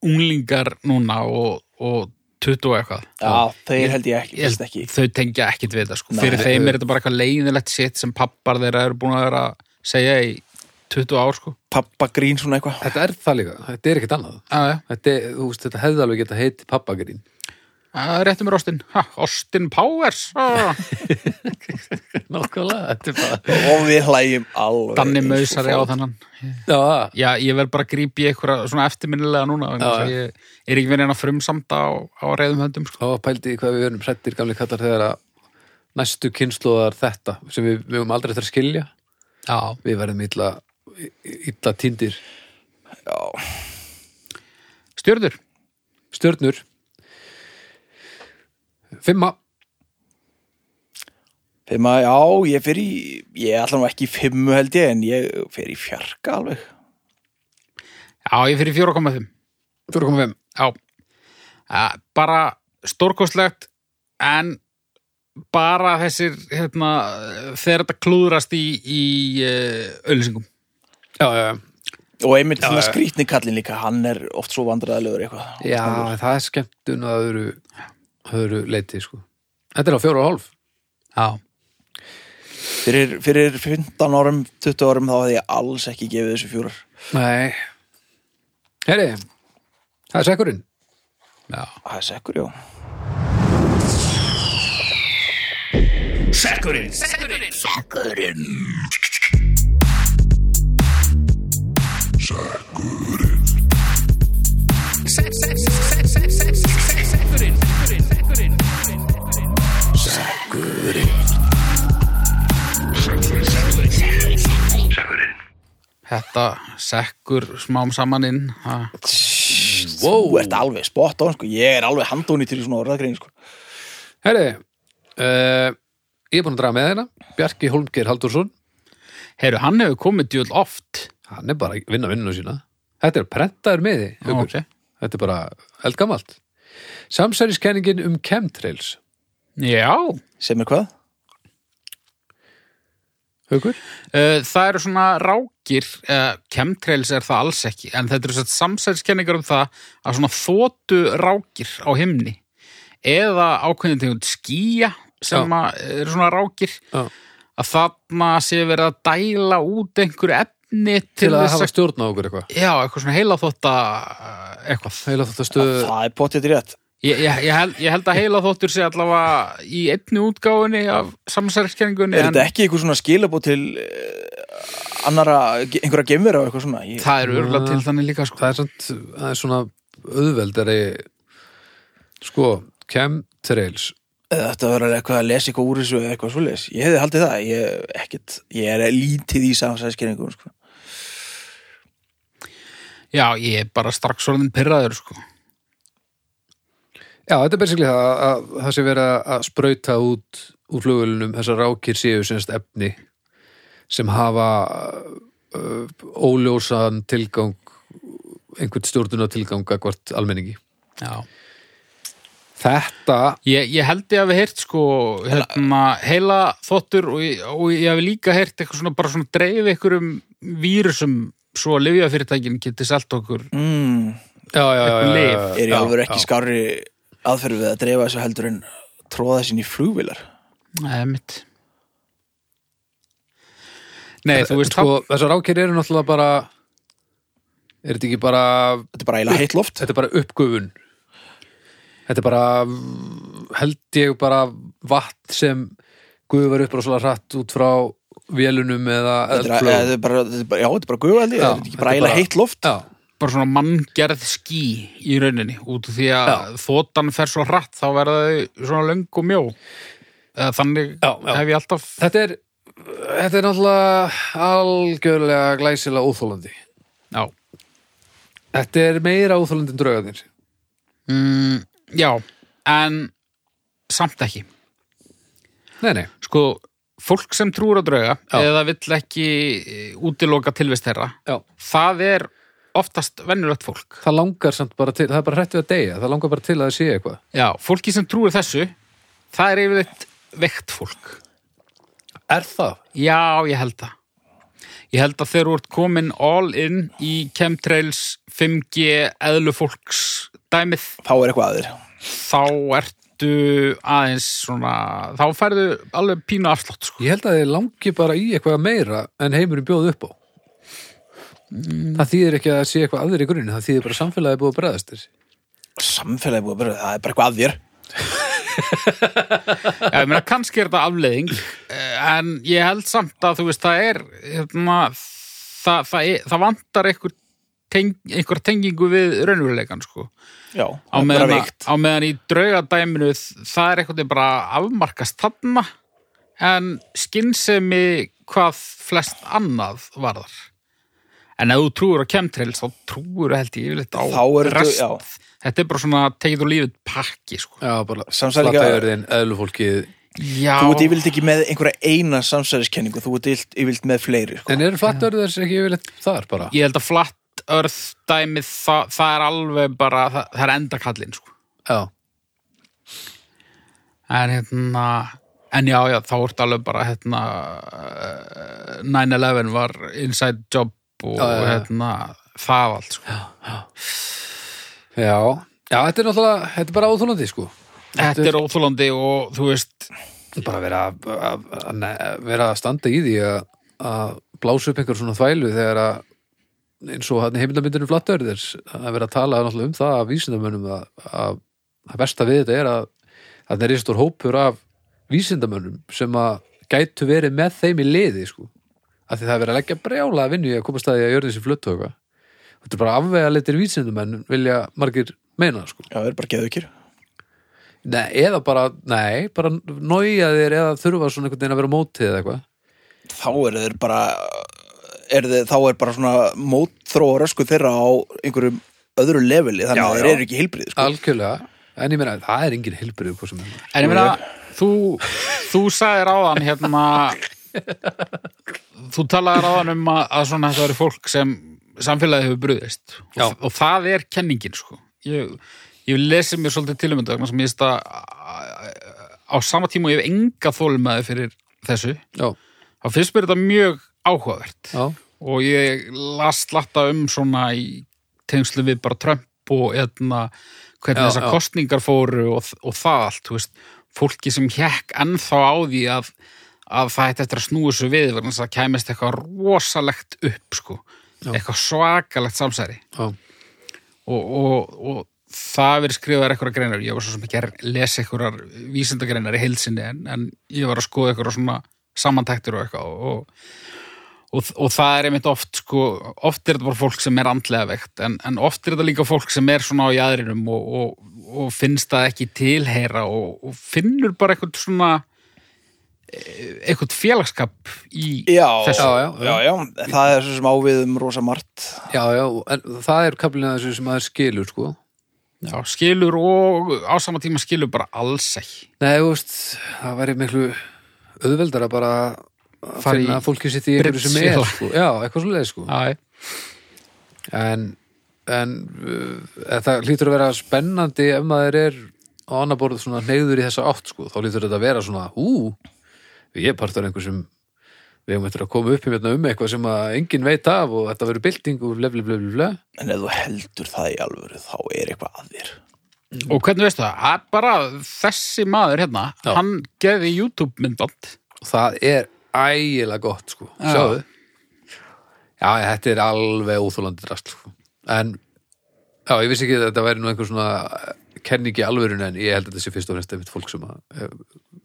C: unglingar núna og, og 20 og eitthvað
D: Já, þeir held ég ekki,
C: Ég
D: finnst ekki
C: held, þau tengja ekkit við það sko.
D: Nei.
C: fyrir þeim er þetta bara eitthvað leiðilegt sitt sem pappar þeirra eru búin að vera að segja í 20 ár sko.
D: pappa grín svona eitthvað
A: Þetta er það líka. Þetta er ekkert annað.
C: já, já.
A: Þetta, er, þú veist, þetta hefði alveg geta heiti pappagrín.
C: Já, Réttu mér Austin. Ha, Austin Powers. Ah.
A: [LAUGHS] Nákvæmlega, þetta er bara...
D: og við hlægjum alveg
C: Danni
D: eins og
C: Mausari á
D: fólk.
C: þannan.
A: Já,
C: Já, ég verð bara að grípa í einhverja svona eftirminnilega núna. vegna þess að
A: já.
C: Ég er ekki verið að frumsamta á, á reyðum höndum. Sko.
A: þá pældi ég hvað við verum hrættir gamli kallar þegar að næstu kynnslóðar þetta sem við við höfum aldrei eftir að skilja
C: Já.
A: við verðum illa, illa tindir
D: Já,
C: Stjörður.
A: stjörnur Fimma,
D: fimm að, já, ég fyrir í ég er alltaf ekki í fimmu held ég en ég fyrir í fjarka alveg
C: Já, ég fyrir 4,5.
A: 4,5
C: Já. Eh, Bara stórkostlegt en bara þessir hérna, þegar þetta klúðrast í, í uh, auðlýsingum.
A: Já, já, já.
D: og einmitt svona skrýtni kallinn líka hann er oft svo vandræðilegur eitthvað
A: já það er skemmtun að öðru, öðru leiti sko. Þetta er á 4,5
C: Já.
D: fyrir, fyrir 15 árum, 20 árum þá hefði ég alls ekki gefið þessu fjórar
A: Nei Heri, það er sekkurinn
C: Já.
D: það er sekkur, já
C: Þetta sekkur smám saman inn. Ha.
A: Wow.
D: þú ert alveg spot on, sko. ég er alveg handóni til svona orðagrein sko.
A: Heri, uh, ég er búin að draga með þeirna Bjarki Holmgeir Haldursson
C: Heyrðu, hann hefur komið djúl oft.
A: hann er bara að vinna vinnuna sína þetta er prentaður miði
C: Ok.
A: þetta er bara eldgamalt Samsæriskenningin um chemtrails.
C: Já,
D: sem er hvað?
A: Haukur?
C: uh, það eru svona rákir, uh, chemtrails er það alls ekki, en þetta eru satt samsæðiskenningar um það að svona þótu rákir á himni eða ákveðin tegund skýja sem að eru svona rákir
A: Já.
C: að þarna sé verið að dæla út einhverju efni til,
A: Til að
C: þess
A: hafa stjórn á okkur eitthvað.
C: Já, eitthvað svona heila þótt eitthvað.
A: Heila þótt að stöðu...
D: það er potið rétt
C: Ég, ég, ég, held, ég held að heila þóttur sé allavega í einni útgáfunni af samsæðiskenningunni
D: er þetta ekki einhver svona skilabó til uh, annara, einhverja gemvera og eitthvað svona ég,
C: það eru örgulega til þannig líka sko.
A: Það er, samt, það er svona auðveldari... Sko, chemtrails.
D: þetta verður eitthvað að lesa eitthvað úr þessu eða eitthvað svoleiðis, ég hefði haldið það ég, ekkit, ég er lítið í samsæðiskenningum sko.
C: Já, ég er bara strax orðin pyrraður sko.
A: Já, þetta er basically það að- að það sé verið að- að sprauta út úr flugulunum þessar rákir séu semst efni sem hafa uh, óljósan tilgang einhvern stjórnuna tilgang akkvart almenningi.
C: Já.
A: Þetta
C: Ég, ég held ég hafi heyrt sko, hérna, heila þóttur og ég, og ég hafi líka heyrt eitthvað svona bara svona dreif einhverjum vírusum svo að lyfjafyrirtækin geti selt okkur
D: mm,
A: já, já, já, já, já, já.
D: er ég
A: já,
D: alveg ekki
A: já.
D: skárri aðferð við að dreifa þessu heldur en tróða þessin í flugvilar
C: Nei, mitt Nei, þú veist
A: Sko, þessar rákir eru náttúrulega bara er þetta ekki bara
D: þetta er bara eiginlega heitt loft
A: þetta er bara uppgufun þetta er bara mm, held ég bara vatn sem gufar upp rosalega hratt út frá vélunum eða
D: þetta er,
A: eldflögum.
D: þetta er bara, þetta er bara, já, þetta er bara guðvaldi
A: Já,
D: þetta er ekki
A: þetta
D: bara
A: er
D: eiginlega
A: bara-
D: heitt loft
A: Já,
C: bara svona manngerð ský í rauninni út af því að þóttan fer svo hratt þá verða þau svona löng og mjó Eða þannig
A: Já, já.
C: hef ég alltaf
A: þetta er þetta er náttúrulega algjörlega glæsilega óþólandi
C: já,
A: þetta er meira óþólandi en draugarnir
C: mm, já en samt ekki
A: nei, nei,
C: sko, fólk sem trúur að drauga
A: Já.
C: eða vill ekki eh, útiloka tilvist þeirra
A: já
C: það er oftast vennulegt fólk
A: það langar samt bara til, það er bara hrætt við að deyja það langar bara til að það sé eitthvað
C: já, fólki sem trúur þessu það er yfirleitt veikt fólk
A: er það?
C: Já, ég held það. Ég held að þegar þú ert komin all in í chemtrails 5G eðlufólks dæmið,
D: þá er eitthvað aður
C: þá ertu aðeins svona, þá færðu alveg pínu afslátt, sko.
A: Ég held að þið langi bara í eitthvað meira en heimurinn bjóð upp á. Það þýðir ekki að sé eitthvað aðrir í grunni, það þýðir bara að samfélagi er búið að bregðast þér.
D: samfélagi búið að byrja, það er bara eitthvað að þér
C: Já, ég meina, kannski er þetta afleiðing, eh, en ég held samt að, þú veist, það er, hérna, það, það, er, það vantar einhver, teng, einhver tengingu við raunveruleikan, sko.
D: já, það
C: á
D: er bara
C: meðan,
D: veikt
C: á meðan í draugadæminu það er eitthvað bara afmarkast þarna en skinnsemi hvað flest annað varðar en ef þú trúir á chemtrails þá trúir held ég yfirleitt á
D: Þá er þetta-
C: rest
D: já.
C: þetta er bara svona tekið úr lífið pakki sko.
A: Já, bara
D: Samsælinga-
A: flatagjörðin, eðlufólkið.
C: já,
D: þú ert yfirleitt ekki með einhverja eina samsæðiskenningu þú ert yfirleitt- yfirleitt með fleiri sko.
A: En eru flattagjörðir þess ekki yfirleitt þar bara?
C: ég held að flatt örð dæmið það, það er alveg bara það, það er endakallin sko.
A: Já,
C: En hérna, en já, já, þá ertu alveg bara hérna, eh, 9-11 var inside job og
A: Já, já, já.
C: hérna, það allt, sko.
A: já. Já, þetta er náttúrulega, þetta er bara óþólandi, sko.
C: Þetta er óþólandi og þú veist,
A: Þetta er bara að vera að, að, að, að vera að standa í því að, að blása upp einhver svona þvælu þegar að eins og hann heimildamyndunum flattagjörðir um að vera að tala náttúrulega um það að vísindamönnum að, að, að versta við þetta er að þannig er stór hópur af vísindamönnum sem að gætu verið með þeim í liði sko. af því það er verið að leggja brjála að vinnu í að koma staði að jörðin sem flutt og eitthvað þetta er bara afvega litir vísindamenn vilja margir meina sko.
D: já, það er bara geðukir
A: nei, eða bara, nei, bara nója þér eða þurfa svona einhvern veginn að vera á móti eða eitthvað
D: þá er þeir bara er þeir, þá er bara svona mótþróa rösku þeirra á einhverjum öðru leveli, þannig
A: Já,
D: að þeir
A: já.
D: eru ekki heilbrið sko.
A: algjörlega, en ég meina það er engin hilbrið hvað sem er
C: en ég meina, þú, þú sagðir áðan hérna, þú talaðir áðan um að, að svona þetta eru fólk sem samfélagið hefur brugðist
A: Já.
C: og, og það er kenningin, sko. Ég, ég hef lesið mér svolítið til um þetta vegna sem ég veist að á sama tíma og ég hef enga þólmaði fyrir þessu
A: já,
C: þá finnst mér þetta mjög áhugavert
A: já,
C: og ég las slatta um svona í tengslu við bara Trump og eðna, hvernig
A: Já,
C: þessar
A: já.
C: kostningar fóru og, og það allt, þú veist, fólki sem hekk ennþá á því að, að það ætti eftir að snúa þessu við verðan þess að kæmist eitthvað rosalegt upp sko, eitthvað svakalegt samsæri
A: já,
C: og, og, og það hefur verið skrifaðar einhverja greinar, ég var svo sem ekki að lesa einhverjar vísindagreinar í heilsinni en, en ég var að skoða einhverjar svona samantæktur og eitthvað og, og, og það er einmitt oft sko, oft er þetta bara fólk sem er andlega veikt en, en oft er þetta líka fólk sem er svona á jæðrinum og, og, og finnst það ekki tilheyra og, og finnur bara eitthvað svona e, eitthvað félagskap í
D: Já,
C: þessu
A: já, já, já.
D: já, já, það er svo sem ávið um rosa margt
A: já, já en það er kaflina þessu sem maður skilur sko.
C: Já, skilur og á sama tíma skilur bara alls ekki
A: Nei, þú veist, það væri miklu auðveldar að bara að
C: Fara í
A: finna fólkið sitt í einhverju sem er
C: brimsfélag.
A: sko. Já, eitthvað svo leið sko.
C: Já, já.
A: en, en uh, það hlýtur að vera spennandi ef maður er á annar borð svona hneiður í þessa átt sko, þá hlýtur þetta að vera svona ú, ég er partur af einhver sem við hefum eftir að koma upp í mérna um eitthvað sem að enginn veit af og þetta verður bylting og blef, blef, blef, blef, blef.
D: En ef þú heldur það í alvöru þá er eitthvað að þér
C: Og hvernig veistu það? Að bara þessi maður hérna,
A: Já.
C: hann gerði YouTube myndband.
A: og það er ægilega gott sko,
C: Já.
A: sjáðu Já, þetta er alveg óþólandi drast sko. en já, ég vissi ekki að þetta væri nú einhver svona eh, kenningi alvörun en ég held að þetta sé fyrst og fremst einmitt fólk sem að eh,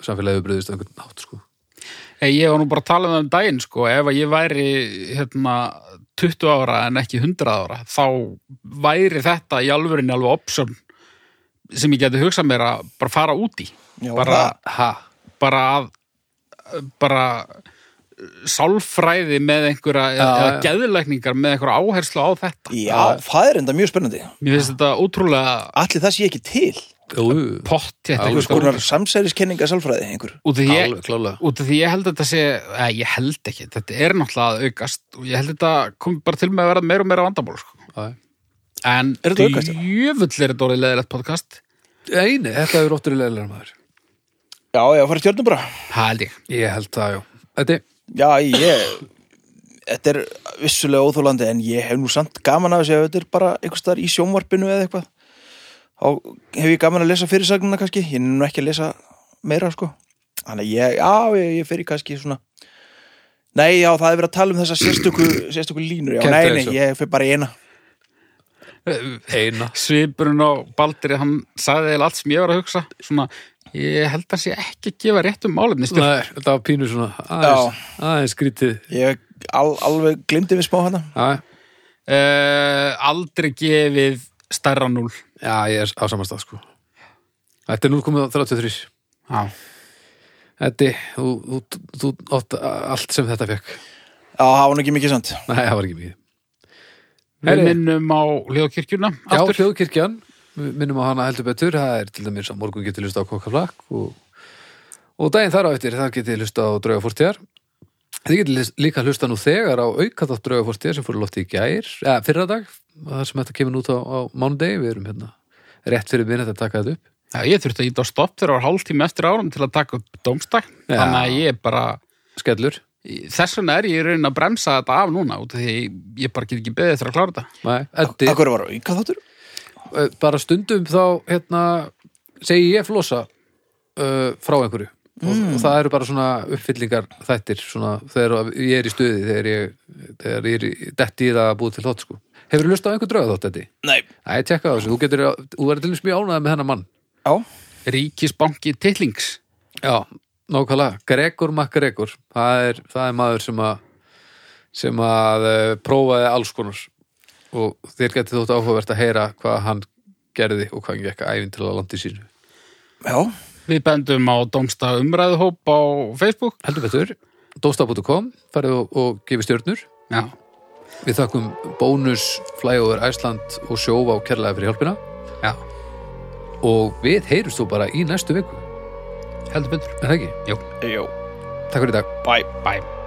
A: samfélagið hefur bröðist á einhvern nátt sko.
C: Hey, ég var nú bara að tala um það um daginn, sko, ef að ég væri hérna 20 ára en ekki 100 ára, þá væri þetta í alvörinni alveg option sem ég geti hugsað mér að bara fara út í.
D: Já,
C: bara,
A: ha,
C: bara að, bara uh, sálfræði með einhverja, eða
A: já.
C: geðlækningar með einhverja áherslu á þetta.
D: Já, það er enda mjög spennandi
C: Mér finnst þetta ótrúlega
D: Allir það sé ekki til
A: jú, jú,
C: pott,
D: Einhvers konar samsæriskenninga sálfræði einhver
C: Út af því ég,
A: alveg klálega
C: út af því ég held að þetta sé, eða ég held ekki, þetta er náttúrulega að aukast og ég held að þetta kom bara til með að vera meira og meira vandamál sko.
A: Já.
C: en
D: Er þetta að aukast, já?
C: djöfull er þetta orðið leðilegt podcast
A: Einu, þetta er ótturilega maður
D: Já, já, fara stjörnum bara
C: það held ég
A: Ég held það, já Þetta,
D: Já, ég Þetta er vissulega óþólandi en ég hef nú samt gaman af þessi ef þetta er bara einhvers staðar í sjónvarpinu eða eitthvað þá hef ég gaman að lesa fyrirsagnina kannski ég er nú ekki að lesa meira sko þannig að ég, já, ég, ég fyrir kannski svona Nei, já, það er verið að tala um þessa sérstöku, sérstöku línur, já,
A: Kennt
D: nei,
A: er
D: nei,
A: þessu.
D: ég fyrir bara í eina
A: eina
C: svipurinn á Baldri, hann sagði eða allt sem ég var að hugsa svona, ég held að sé ekki að gefa rétt um málefni stjórn
A: [LAUGHS] Nei, þetta var pínu svona aðeins, aðeins skrítið
D: Ég al, alveg glimti við smá hérna. hana
A: Já,
C: uh, aldrei gefið stærra núl
A: já, ég er á samastað sko Þetta er 0,33
C: já.
A: Eddi, þú, þú, þú átt allt sem þetta fekk
D: Já, það var nú ekki mikið samt
A: Nei, það var ekki mikið
C: við
A: Herri.
C: minnum á hljóðkirkjuna
A: Já,
C: aftur.
A: hljóðkirkjan, við minnum á hana heldur betur það er til dæmis að morgun getið hlusta á kokkaflakk og, og daginn þar á eftir þar getið hlusta á draugafórtíðar Þið getið lis- líka hlusta nú þegar á aukaþátt draugafórtíðar sem fóru lofti í gær eða fyrradag, þar sem þetta kemur út á, á mánudegi, við erum hérna rétt fyrir minnet að taka þetta upp
C: Já, ég þurfti að íta á stopp þegar var hálftíma eftir árum til að taka upp dómstak
A: Já.
C: þannig að ég bara,
A: Skellur,
C: þess vegna er ég í raunin að bremsa þetta af núna út af því ég bara get ekki beðið eftir að klára þetta
A: nei, Eddi
D: Akkur var auka þáttur?
A: eh, bara stundum þá hérna, segi ég flosa uh, frá einhverju og, og það eru bara svona uppfyllingar þættir svona, þegar að- ég er í stuði þegar ég, þegar ég er í detti í það að búið til þátt sko. Hefur þú lust á einhver drauga þátt þetta?
D: Nei
A: Æ, tjekka það þessu, þú getur, þú verður til þess mjög ánægð með hennar mann
D: Já,
C: Ríkisbanki tillings
A: Já, nákvæmlega, Gregor MacGregor það er, það er maður sem að sem að eh, prófaði alls konar og þér getið þótt áhugavert að heyra hvað hann gerði og hvað hann gekk ævinn til að landi sínu
D: já,
C: Við bendum á dómsta umræðuhóp á Facebook
A: heldur betur, dósta.com farið og, og gefið stjörnur
C: Já,
A: við þakkum bónus flyover Æsland og sjófa og kærlega fyrir hjálpina
C: já,
A: og við heyrumst þú bara í næstu viku
C: heldur betur
A: er það ekki?
C: Jú,
D: já,
A: Takk fyrir í dag
D: bæ
C: bæm